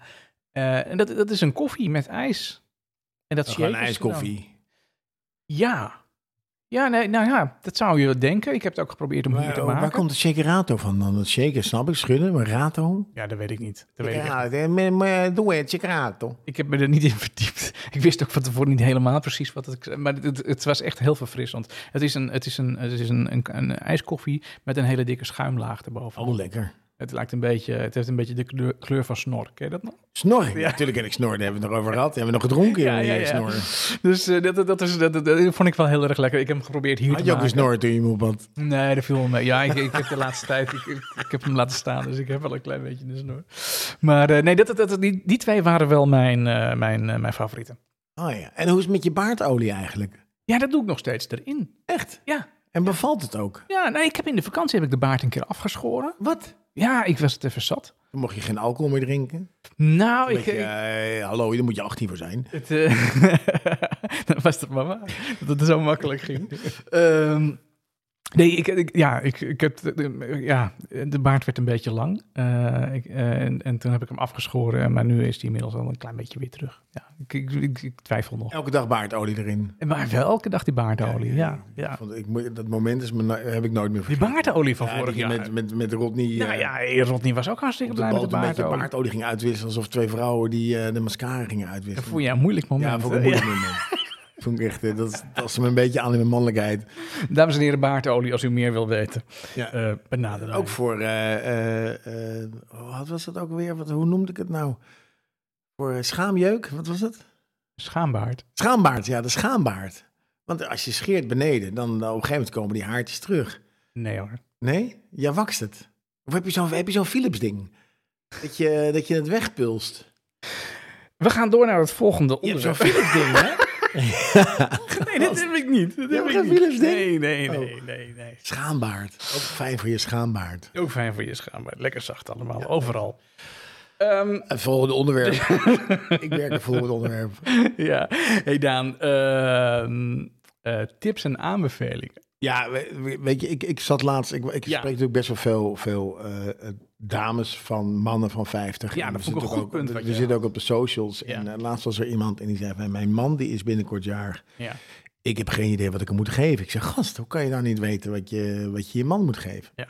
S1: Eh, en dat, dat is een koffie met ijs. En dat
S2: Oh, Gewoon
S1: shakers
S2: ijskoffie.
S1: dan. Ja. Ja, nee, nou ja, dat zou je denken. Ik heb het ook geprobeerd om hier
S2: oh, Waar,
S1: te
S2: waar
S1: maken.
S2: komt het shakerato van dan? Dat shaker snap ik, schudden, maar rato?
S1: Ja, dat weet ik niet. Dat weet ik, echt.
S2: Ja, eh, maar- maar doe het, shakerato.
S1: ik heb me er niet in verdiept. Ik wist ook van tevoren niet helemaal precies wat het... Maar het, het was echt heel verfrissend. Het is, een, het is, een, het is een, een, een ijskoffie met een hele dikke schuimlaag erboven.
S2: Oh, lekker.
S1: Het, lijkt een beetje, het heeft een beetje de kleur, kleur van snor. Ken je dat nog?
S2: Snor. Natuurlijk ken ik snor, daar hebben we het nog over gehad. Die hebben we nog gedronken
S1: Ja,
S2: in
S1: ja,
S2: die
S1: ja.
S2: snor.
S1: Dus eh, dat, dat, dat, is, dat, dat, dat vond ik wel heel erg lekker. Ik heb hem geprobeerd hier
S2: Had
S1: te
S2: je ook dus een
S1: maken.
S2: snor toen je moe bent?
S1: Nee, dat viel wel mee. Ja, ik, ik heb de laatste tijd... Ik, ik, ik heb hem laten staan, dus ik heb wel een klein beetje een snor. Maar eh, nee, dat, dat, dat- die, die twee waren wel mijn, eh, mijn, eh, mijn favorieten.
S2: Oh ja. En hoe is het met je baardolie eigenlijk?
S1: Ja, dat doe ik nog steeds erin.
S2: Echt?
S1: Ja,
S2: En bevalt het ook?
S1: ja nee, ik heb in de vakantie heb ik de baard een keer afgeschoren.
S2: Wat?
S1: Ja, ik was het even zat.
S2: Dan mocht je geen alcohol meer drinken.
S1: Nou, ik...
S2: Beetje,
S1: ik-
S2: eh, hallo, daar moet je 18 voor zijn.
S1: het, eh, dat was toch maar waar, dat het zo makkelijk ging. Ehm, nee, ik, ik- ja, ik, ik heb, de- de- ja, de baard werd een beetje lang. Eh, ik, eh, en, en toen heb ik hem afgeschoren, maar nu is die inmiddels al een klein beetje weer terug. Ja, ik, ik, ik- ik twijfel nog.
S2: Elke dag baardolie erin.
S1: En Maar wel elke dag die baardolie, ja. ja.
S2: Want ik, moet- dat moment is me, no- heb ik nooit meer
S1: Die
S2: vergeten.
S1: baardolie van
S2: Ja,
S1: vorig
S2: die
S1: jaar.
S2: Met, met, met Rodney.
S1: nou
S2: eh,
S1: ja, Rodney was ook hartstikke
S2: op de
S1: blij met de
S2: bal een beetje
S1: baardolie.
S2: baardolie ging uitwisselen. Alsof twee vrouwen die eh, de mascara gingen
S1: Dat
S2: uitwisselen.
S1: vond jij een moeilijk moment.
S2: Ja, vond ik
S1: hè?
S2: een moeilijk moment. Vond ik echt, eh, dat dat ze me een beetje aan in mijn mannelijkheid.
S1: Dames en heren, baardolie, als u meer wil weten,
S2: Ja.
S1: eh benader mij.
S2: ook voor, eh, eh, eh, wat was dat ook weer? Wat, hoe noemde ik het nou? Voor eh, schaamjeuk, wat was het?
S1: Schaambaard.
S2: Schaambaard, ja, de schaambaard. Want als je scheert beneden, dan eh, op een gegeven moment komen die haartjes terug.
S1: Nee hoor.
S2: Nee? Ja, wakst het. Of heb je zo'n heb je zo'n Philips ding? Dat je, dat je het wegpulst.
S1: We gaan door naar het volgende
S2: Je hebt
S1: onderwerp.
S2: zo'n Philips ding, hè?
S1: Nee, dat heb ik niet. Dat
S2: hebt geen Philips-ding?
S1: Nee, nee, nee,
S2: Oh.
S1: nee, nee.
S2: Schaambaard. Ook fijn voor je schaambaard.
S1: Ook fijn voor je schaambaar. Lekker zacht allemaal, overal. Ehm,
S2: Het volgende onderwerp. ik werk het volgende onderwerp.
S1: ja, hey Daan. ehm, eh, tips en aanbevelingen.
S2: Ja, we- we- weet je, ik, ik zat laatst. Ik, ik
S1: Ja.
S2: spreek natuurlijk best wel veel, veel eh, eh, dames van mannen van 50.
S1: Ja,
S2: En
S1: dat
S2: we
S1: vond ik een
S2: zitten
S1: goed punt
S2: ook,
S1: wat
S2: We,
S1: je
S2: zitten ook op de socials. En
S1: Ja.
S2: eh, laatst was er iemand en die zei: van, Mijn man die is binnenkort jaar.
S1: Ja,
S2: Ik heb geen idee wat ik hem moet geven. Ik zeg: Gast, hoe kan je nou niet weten wat je wat je, je man moet geven?
S1: Ja.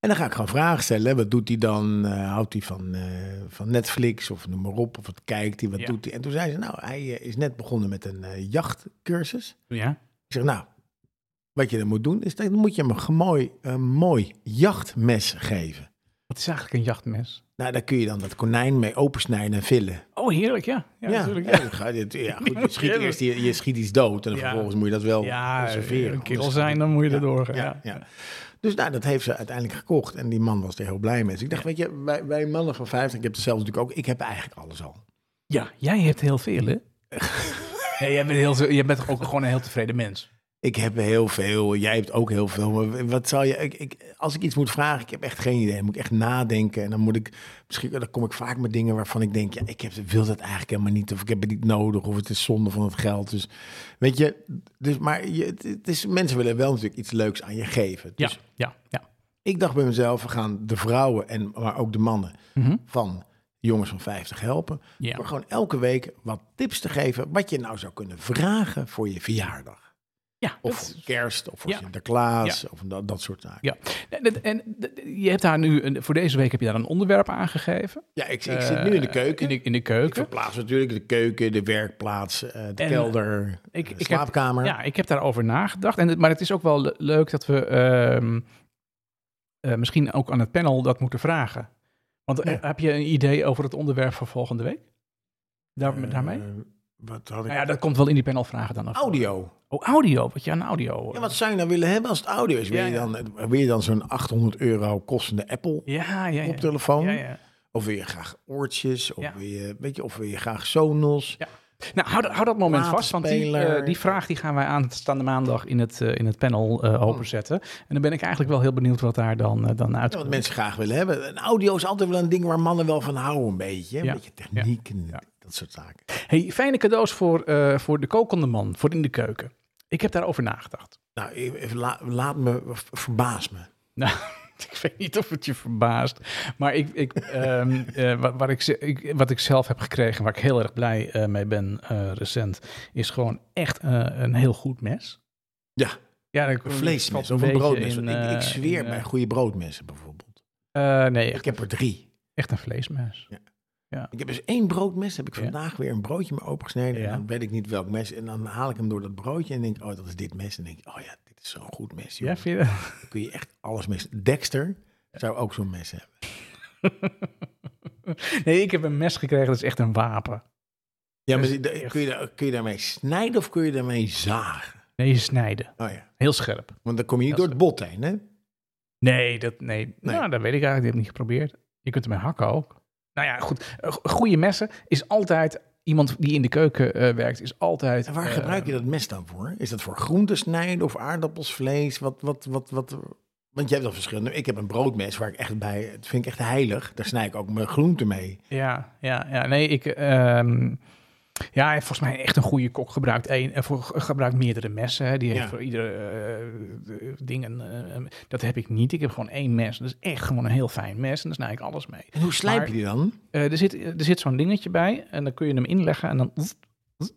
S2: En dan ga ik gewoon vragen stellen. hè. Wat doet hij dan? Eh, houdt hij van, eh, van Netflix of noem maar op? Of wat kijkt hij? Wat
S1: Ja.
S2: doet hij? En toen zei ze: Nou, hij eh, is net begonnen met een eh, jachtcursus.
S1: ja.
S2: Ik zeg, nou, wat je dan moet doen, is dat dan moet je hem een mooi, een mooi jachtmes geven.
S1: Wat is eigenlijk een jachtmes?
S2: Nou, daar kun je dan dat konijn mee opensnijden en villen.
S1: Oh, heerlijk, ja. Ja, natuurlijk.
S2: ja,
S1: Ja,
S2: dan ga je dit- ja, goed, je, schiet eerst, je, je schiet iets dood en dan
S1: Ja.
S2: vervolgens moet je dat wel
S1: ja
S2: Oh, conserveren.
S1: een kerel
S2: Anders-
S1: zijn, dan moet je
S2: Ja,
S1: erdoor gaan.
S2: ja, ja. Dus nou, dat heeft ze uiteindelijk gekocht en die man was er heel blij mee. Dus ik dacht, weet je, wij, wij mannen van 50, ik heb het zelf natuurlijk ook, ik heb eigenlijk alles al.
S1: Ja, jij hebt heel veel, hè? Nee, jij, bent heel, zo- jij bent ook gewoon een heel tevreden mens.
S2: Ik heb heel veel, jij hebt ook heel veel. Maar wat zou je, ik, ik, als ik iets moet vragen, ik heb echt geen idee. Dan moet ik echt nadenken. En dan moet ik, misschien dan kom ik vaak met dingen waarvan ik denk, ja, ik heb, wil dat eigenlijk helemaal niet. Of ik heb het niet nodig. Of het is zonde van het geld. Dus weet je, dus, maar je, het, het is, mensen willen wel natuurlijk iets leuks aan je geven.
S1: Ja,
S2: Dus
S1: ja, ja.
S2: ik dacht bij mezelf, we gaan de vrouwen en maar ook de mannen
S1: Mhm.
S2: van jongens van 50 helpen.
S1: Ja.
S2: Maar gewoon elke week wat tips te geven wat je nou zou kunnen vragen voor je verjaardag.
S1: ja
S2: Of
S1: dat-
S2: voor kerst, of voor
S1: Ja.
S2: Sinterklaas, of dat, dat soort zaken. Ja,
S1: Ja, en, dat- en dat- je hebt daar nu, een- voor deze week heb je daar een onderwerp aangegeven.
S2: ik, ik zit nu in de keuken.
S1: Eh, In de, in de
S2: ik
S1: keuken.
S2: verplaats natuurlijk de keuken, de werkplaats, eh, de
S1: En,
S2: kelder,
S1: ik-
S2: de
S1: ik heb-
S2: slaapkamer.
S1: Ja, ik heb daarover nagedacht. En, het- maar het is ook wel le- leuk dat we ehm, eh, misschien ook aan het panel dat moeten vragen. Want eh,
S2: Ja.
S1: heb je een idee over het onderwerp voor volgende week? Daar,
S2: Eh,
S1: daarmee?
S2: wat had ik?
S1: Nou ja, dat komt wel in die panelvragen dan. nog.
S2: Audio.
S1: Oh, audio. Wat je aan audio... eh,
S2: Ja, wat zou je nou willen hebben als het audio is? Wil,
S1: Ja,
S2: je,
S1: ja.
S2: dan, eh, wil je dan zo'n 800 euro kostende Apple
S1: ja, ja, ja.
S2: op telefoon?
S1: Ja, ja.
S2: Of wil je graag oortjes? Of,
S1: Ja.
S2: wil, je, weet je, of wil je graag Sonos?
S1: Nou, hou, dat- hou dat moment vast, want die,
S2: Platenspeler.
S1: eh, die vraag die gaan wij aanstaande maandag in het, eh, in het panel
S2: Oh.
S1: eh, openzetten. En dan ben ik eigenlijk wel heel benieuwd wat daar dan, eh, dan
S2: Ja,
S1: uitkomt.
S2: wat mensen graag willen hebben. Een audio is altijd wel een ding waar mannen wel van houden, een beetje. Een
S1: Ja.
S2: beetje techniek en dat soort zaken.
S1: Hey, fijne cadeaus voor, eh, voor de kokende man, voor in de keuken. Ik heb daarover nagedacht.
S2: Nou, even la- laat me, v- verbaas me.
S1: Nou, ik weet niet of het je verbaast, maar ik, ik, ehm, eh, wat, wat ik, ze- ik, wat ik zelf heb gekregen, waar ik heel erg blij eh, mee ben eh, recent, is gewoon echt eh, een heel goed mes.
S2: Ja,
S1: Ja, dat
S2: een
S1: valt
S2: vleesmes
S1: een
S2: of een
S1: beetje
S2: broodmes.
S1: in,
S2: ik, ik
S1: eh,
S2: zweer
S1: in, eh,
S2: bij goede broodmessen bijvoorbeeld.
S1: eh, nee,
S2: Ik
S1: echt,
S2: heb er drie.
S1: echt een vleesmes.
S2: Ik heb dus één broodmes. Heb ik
S1: Ja.
S2: vandaag weer een broodje mee opengesneden.
S1: Ja.
S2: En dan weet ik niet welk mes. En dan haal ik hem door dat broodje en denk oh, dat is dit mes. En denk ik, oh ja, dit is zo'n goed mes. joh.
S1: Ja, vind je dat?
S2: Dan kun je echt alles mes. Dexter zou ook zo'n mes hebben.
S1: Nee, ik heb een mes gekregen, dat is echt een wapen.
S2: Ja, maar
S1: Dus
S2: die- de-
S1: echt.
S2: kun je, daar- kun je daarmee snijden of kun je daarmee zagen?
S1: Nee, snijden.
S2: Oh ja,
S1: Heel scherp.
S2: want dan kom je niet
S1: Dat
S2: door het bot heen, hè?
S1: Nee, dat, nee.
S2: Nee.
S1: Nou, dat weet ik eigenlijk. Die heb ik niet geprobeerd. Je kunt ermee hakken ook. Nou ja, goed. Eh, go- Goede messen is altijd... Iemand die in de keuken eh, werkt, is altijd...
S2: En waar
S1: eh,
S2: gebruik je dat mes dan voor? Is dat voor groenten snijden of aardappels, vlees? Wat, wat, wat, wat? Want je hebt al verschillende. Ik heb een broodmes waar ik echt bij, dat vind ik echt heilig. Daar snij ik ook mijn groenten mee.
S1: Ja, ja, ja. Nee, ik... ehm, ja, hij heeft volgens mij echt een goede kok gebruikt. één eh, voor, gebruikt meerdere messen. Hè. Die heeft
S2: Ja.
S1: voor ieder eh, eh, ding een... eh, dat heb ik niet. Ik heb gewoon één mes. Dat is echt gewoon een heel fijn mes. En daar snij ik alles mee.
S2: En hoe slijp
S1: Maar-
S2: je die dan?
S1: Eh, er zit, er zit zo'n dingetje bij en dan kun je hem inleggen en dan,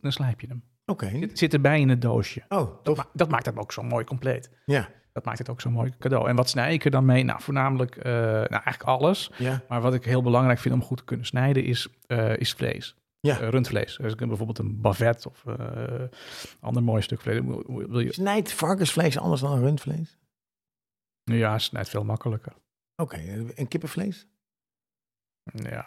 S1: dan slijp je hem.
S2: Oké.
S1: Het zit erbij in het doosje.
S2: Oh,
S1: Dat,
S2: tof.
S1: ma- dat maakt hem ook zo mooi compleet.
S2: Ja,
S1: Dat maakt het ook zo'n mooi cadeau. En wat snij ik er dan mee? Nou, voornamelijk eh, nou, eigenlijk alles.
S2: ja,
S1: Maar wat ik heel belangrijk vind om goed te kunnen snijden is, eh, is vlees.
S2: ja.
S1: Eh, rundvlees. Dus ik heb bijvoorbeeld een bavet of eh ander mooi stuk vlees. Wil- Wil je,
S2: Snijdt varkensvlees anders dan rundvlees?
S1: ja, snijdt veel makkelijker.
S2: Oké, en kippenvlees?
S1: Ja.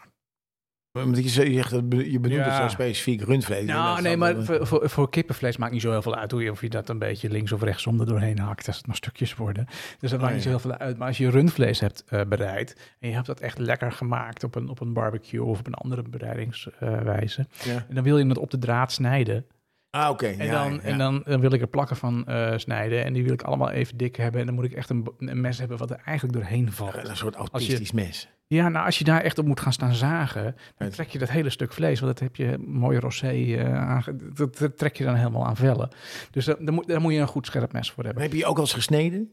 S2: Omdat je zo- je zegt, dat be- je benoemt
S1: Ja.
S2: het zo specifiek, rundvlees. En dat
S1: Nou,
S2: is
S1: nee,
S2: dan-
S1: maar voor, voor, voor kippenvlees maakt niet zo heel veel uit hoe je, of je dat een beetje links of rechtsom er doorheen hakt, als het maar stukjes worden. Dus dat maakt niet zo
S2: Oh, ja.
S1: heel veel uit. Maar als je rundvlees hebt eh, bereid en je hebt dat echt lekker gemaakt op een, op een barbecue of op een andere bereidingswijze,
S2: Ja.
S1: en dan wil je het op de draad snijden.
S2: Ah, oké.
S1: En,
S2: ja,
S1: dan,
S2: ja.
S1: en dan, dan wil ik er plakken van eh, snijden en die wil ik allemaal even dik hebben. En dan moet ik echt een, een mes hebben wat er eigenlijk doorheen valt.
S2: Een soort autistisch mes.
S1: Ja, nou, als je daar echt op moet gaan staan zagen, dan
S2: Het-
S1: trek je dat hele stuk vlees, want dat heb je mooi rosé, eh, aange- dat, dat trek je dan helemaal aan vellen. Dus daar, daar, moet, daar moet je een goed scherp mes voor
S2: Maar
S1: hebben.
S2: heb je je ook al eens gesneden?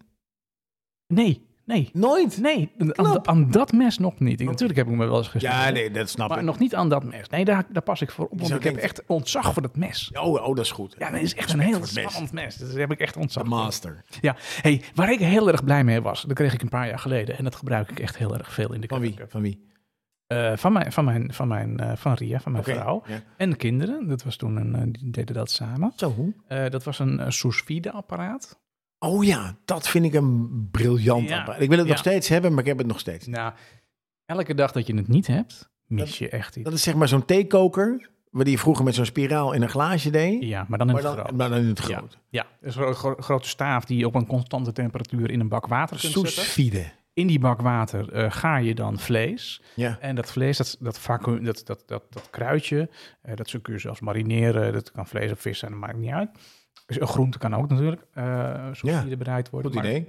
S1: Nee, nee,
S2: Nooit.
S1: nee, aan, aan dat mes nog niet. Ik, natuurlijk heb ik me wel eens gesneden,
S2: Ja, nee, dat snap
S1: maar
S2: ik.
S1: nog niet aan dat mes. Nee, daar, daar pas ik voor op, want
S2: zou
S1: ik heb
S2: denken-
S1: echt ontzag voor dat mes.
S2: Oh, oh, dat is goed.
S1: Ja, dat is echt een heel
S2: voor het mes.
S1: spannend mes. Dus daar heb ik echt ontzag
S2: De
S1: voor.
S2: master.
S1: Ja, hey, waar ik heel erg blij mee was, dat kreeg ik een paar jaar geleden. En dat gebruik ik echt heel erg veel in de
S2: Van wie?
S1: keuken.
S2: Van wie?
S1: Eh, van, mijn, van, mijn, van, mijn, eh, van Ria, van mijn
S2: Oké,
S1: vrouw.
S2: ja.
S1: En de kinderen. Dat was toen een, eh, die deden dat samen.
S2: Zo, hoe?
S1: Eh, dat was een eh, sous vide apparaat.
S2: Oh ja, dat vind ik een briljant
S1: Ja,
S2: apparaat. Ik wil het nog
S1: ja.
S2: steeds hebben, maar ik heb het nog steeds. niet.
S1: Nou, Elke dag dat je het niet hebt, mis je echt iets.
S2: Dat is zeg maar zo'n theekoker, waar die je vroeger met zo'n spiraal in een glaasje deed.
S1: Ja, maar dan in
S2: maar,
S1: het
S2: dan,
S1: groot.
S2: maar dan in het
S1: Ja,
S2: groot.
S1: ja. Dus een gro- grote staaf die je op een constante temperatuur in een bak water kunt zetten.
S2: Soesfide.
S1: In die bak water eh, ga je dan vlees.
S2: Ja.
S1: En dat vlees, dat, dat, vacuüm, dat, dat, dat, dat kruidje, eh, dat kun je zelfs marineren. Dat kan vlees of vis zijn, dat maakt niet uit. Dus een groente kan ook natuurlijk, eh zoals
S2: Ja,
S1: die er bereid worden.
S2: Goed
S1: Maar
S2: idee.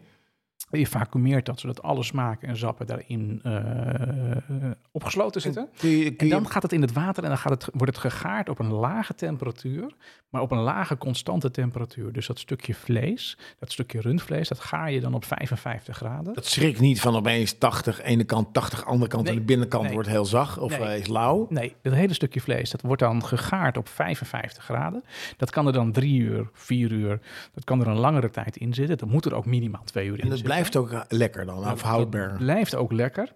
S1: je vacuümeert dat, zodat alle smaken en zappen daarin eh, opgesloten zitten.
S2: Kun je, kun
S1: En
S2: je-
S1: dan gaat het in het water en dan gaat het, wordt het gegaard op een lage temperatuur, maar op een lage constante temperatuur. Dus dat stukje vlees, dat stukje rundvlees, dat ga je dan op 55 graden.
S2: dat schrikt niet van opeens 80, ene kant 80, andere kant.
S1: Nee,
S2: en de binnenkant
S1: nee.
S2: wordt heel zacht of
S1: Nee.
S2: eh, is lauw.
S1: Nee, dat hele stukje vlees, dat wordt dan gegaard op 55 graden. Dat kan er dan drie uur, vier uur, dat kan er een langere tijd in zitten. Dat moet er ook minimaal twee uur in
S2: En dat
S1: zitten.
S2: blijft ook eh, lekker dan, of
S1: Dat
S2: houdbaar.
S1: blijft ook lekker.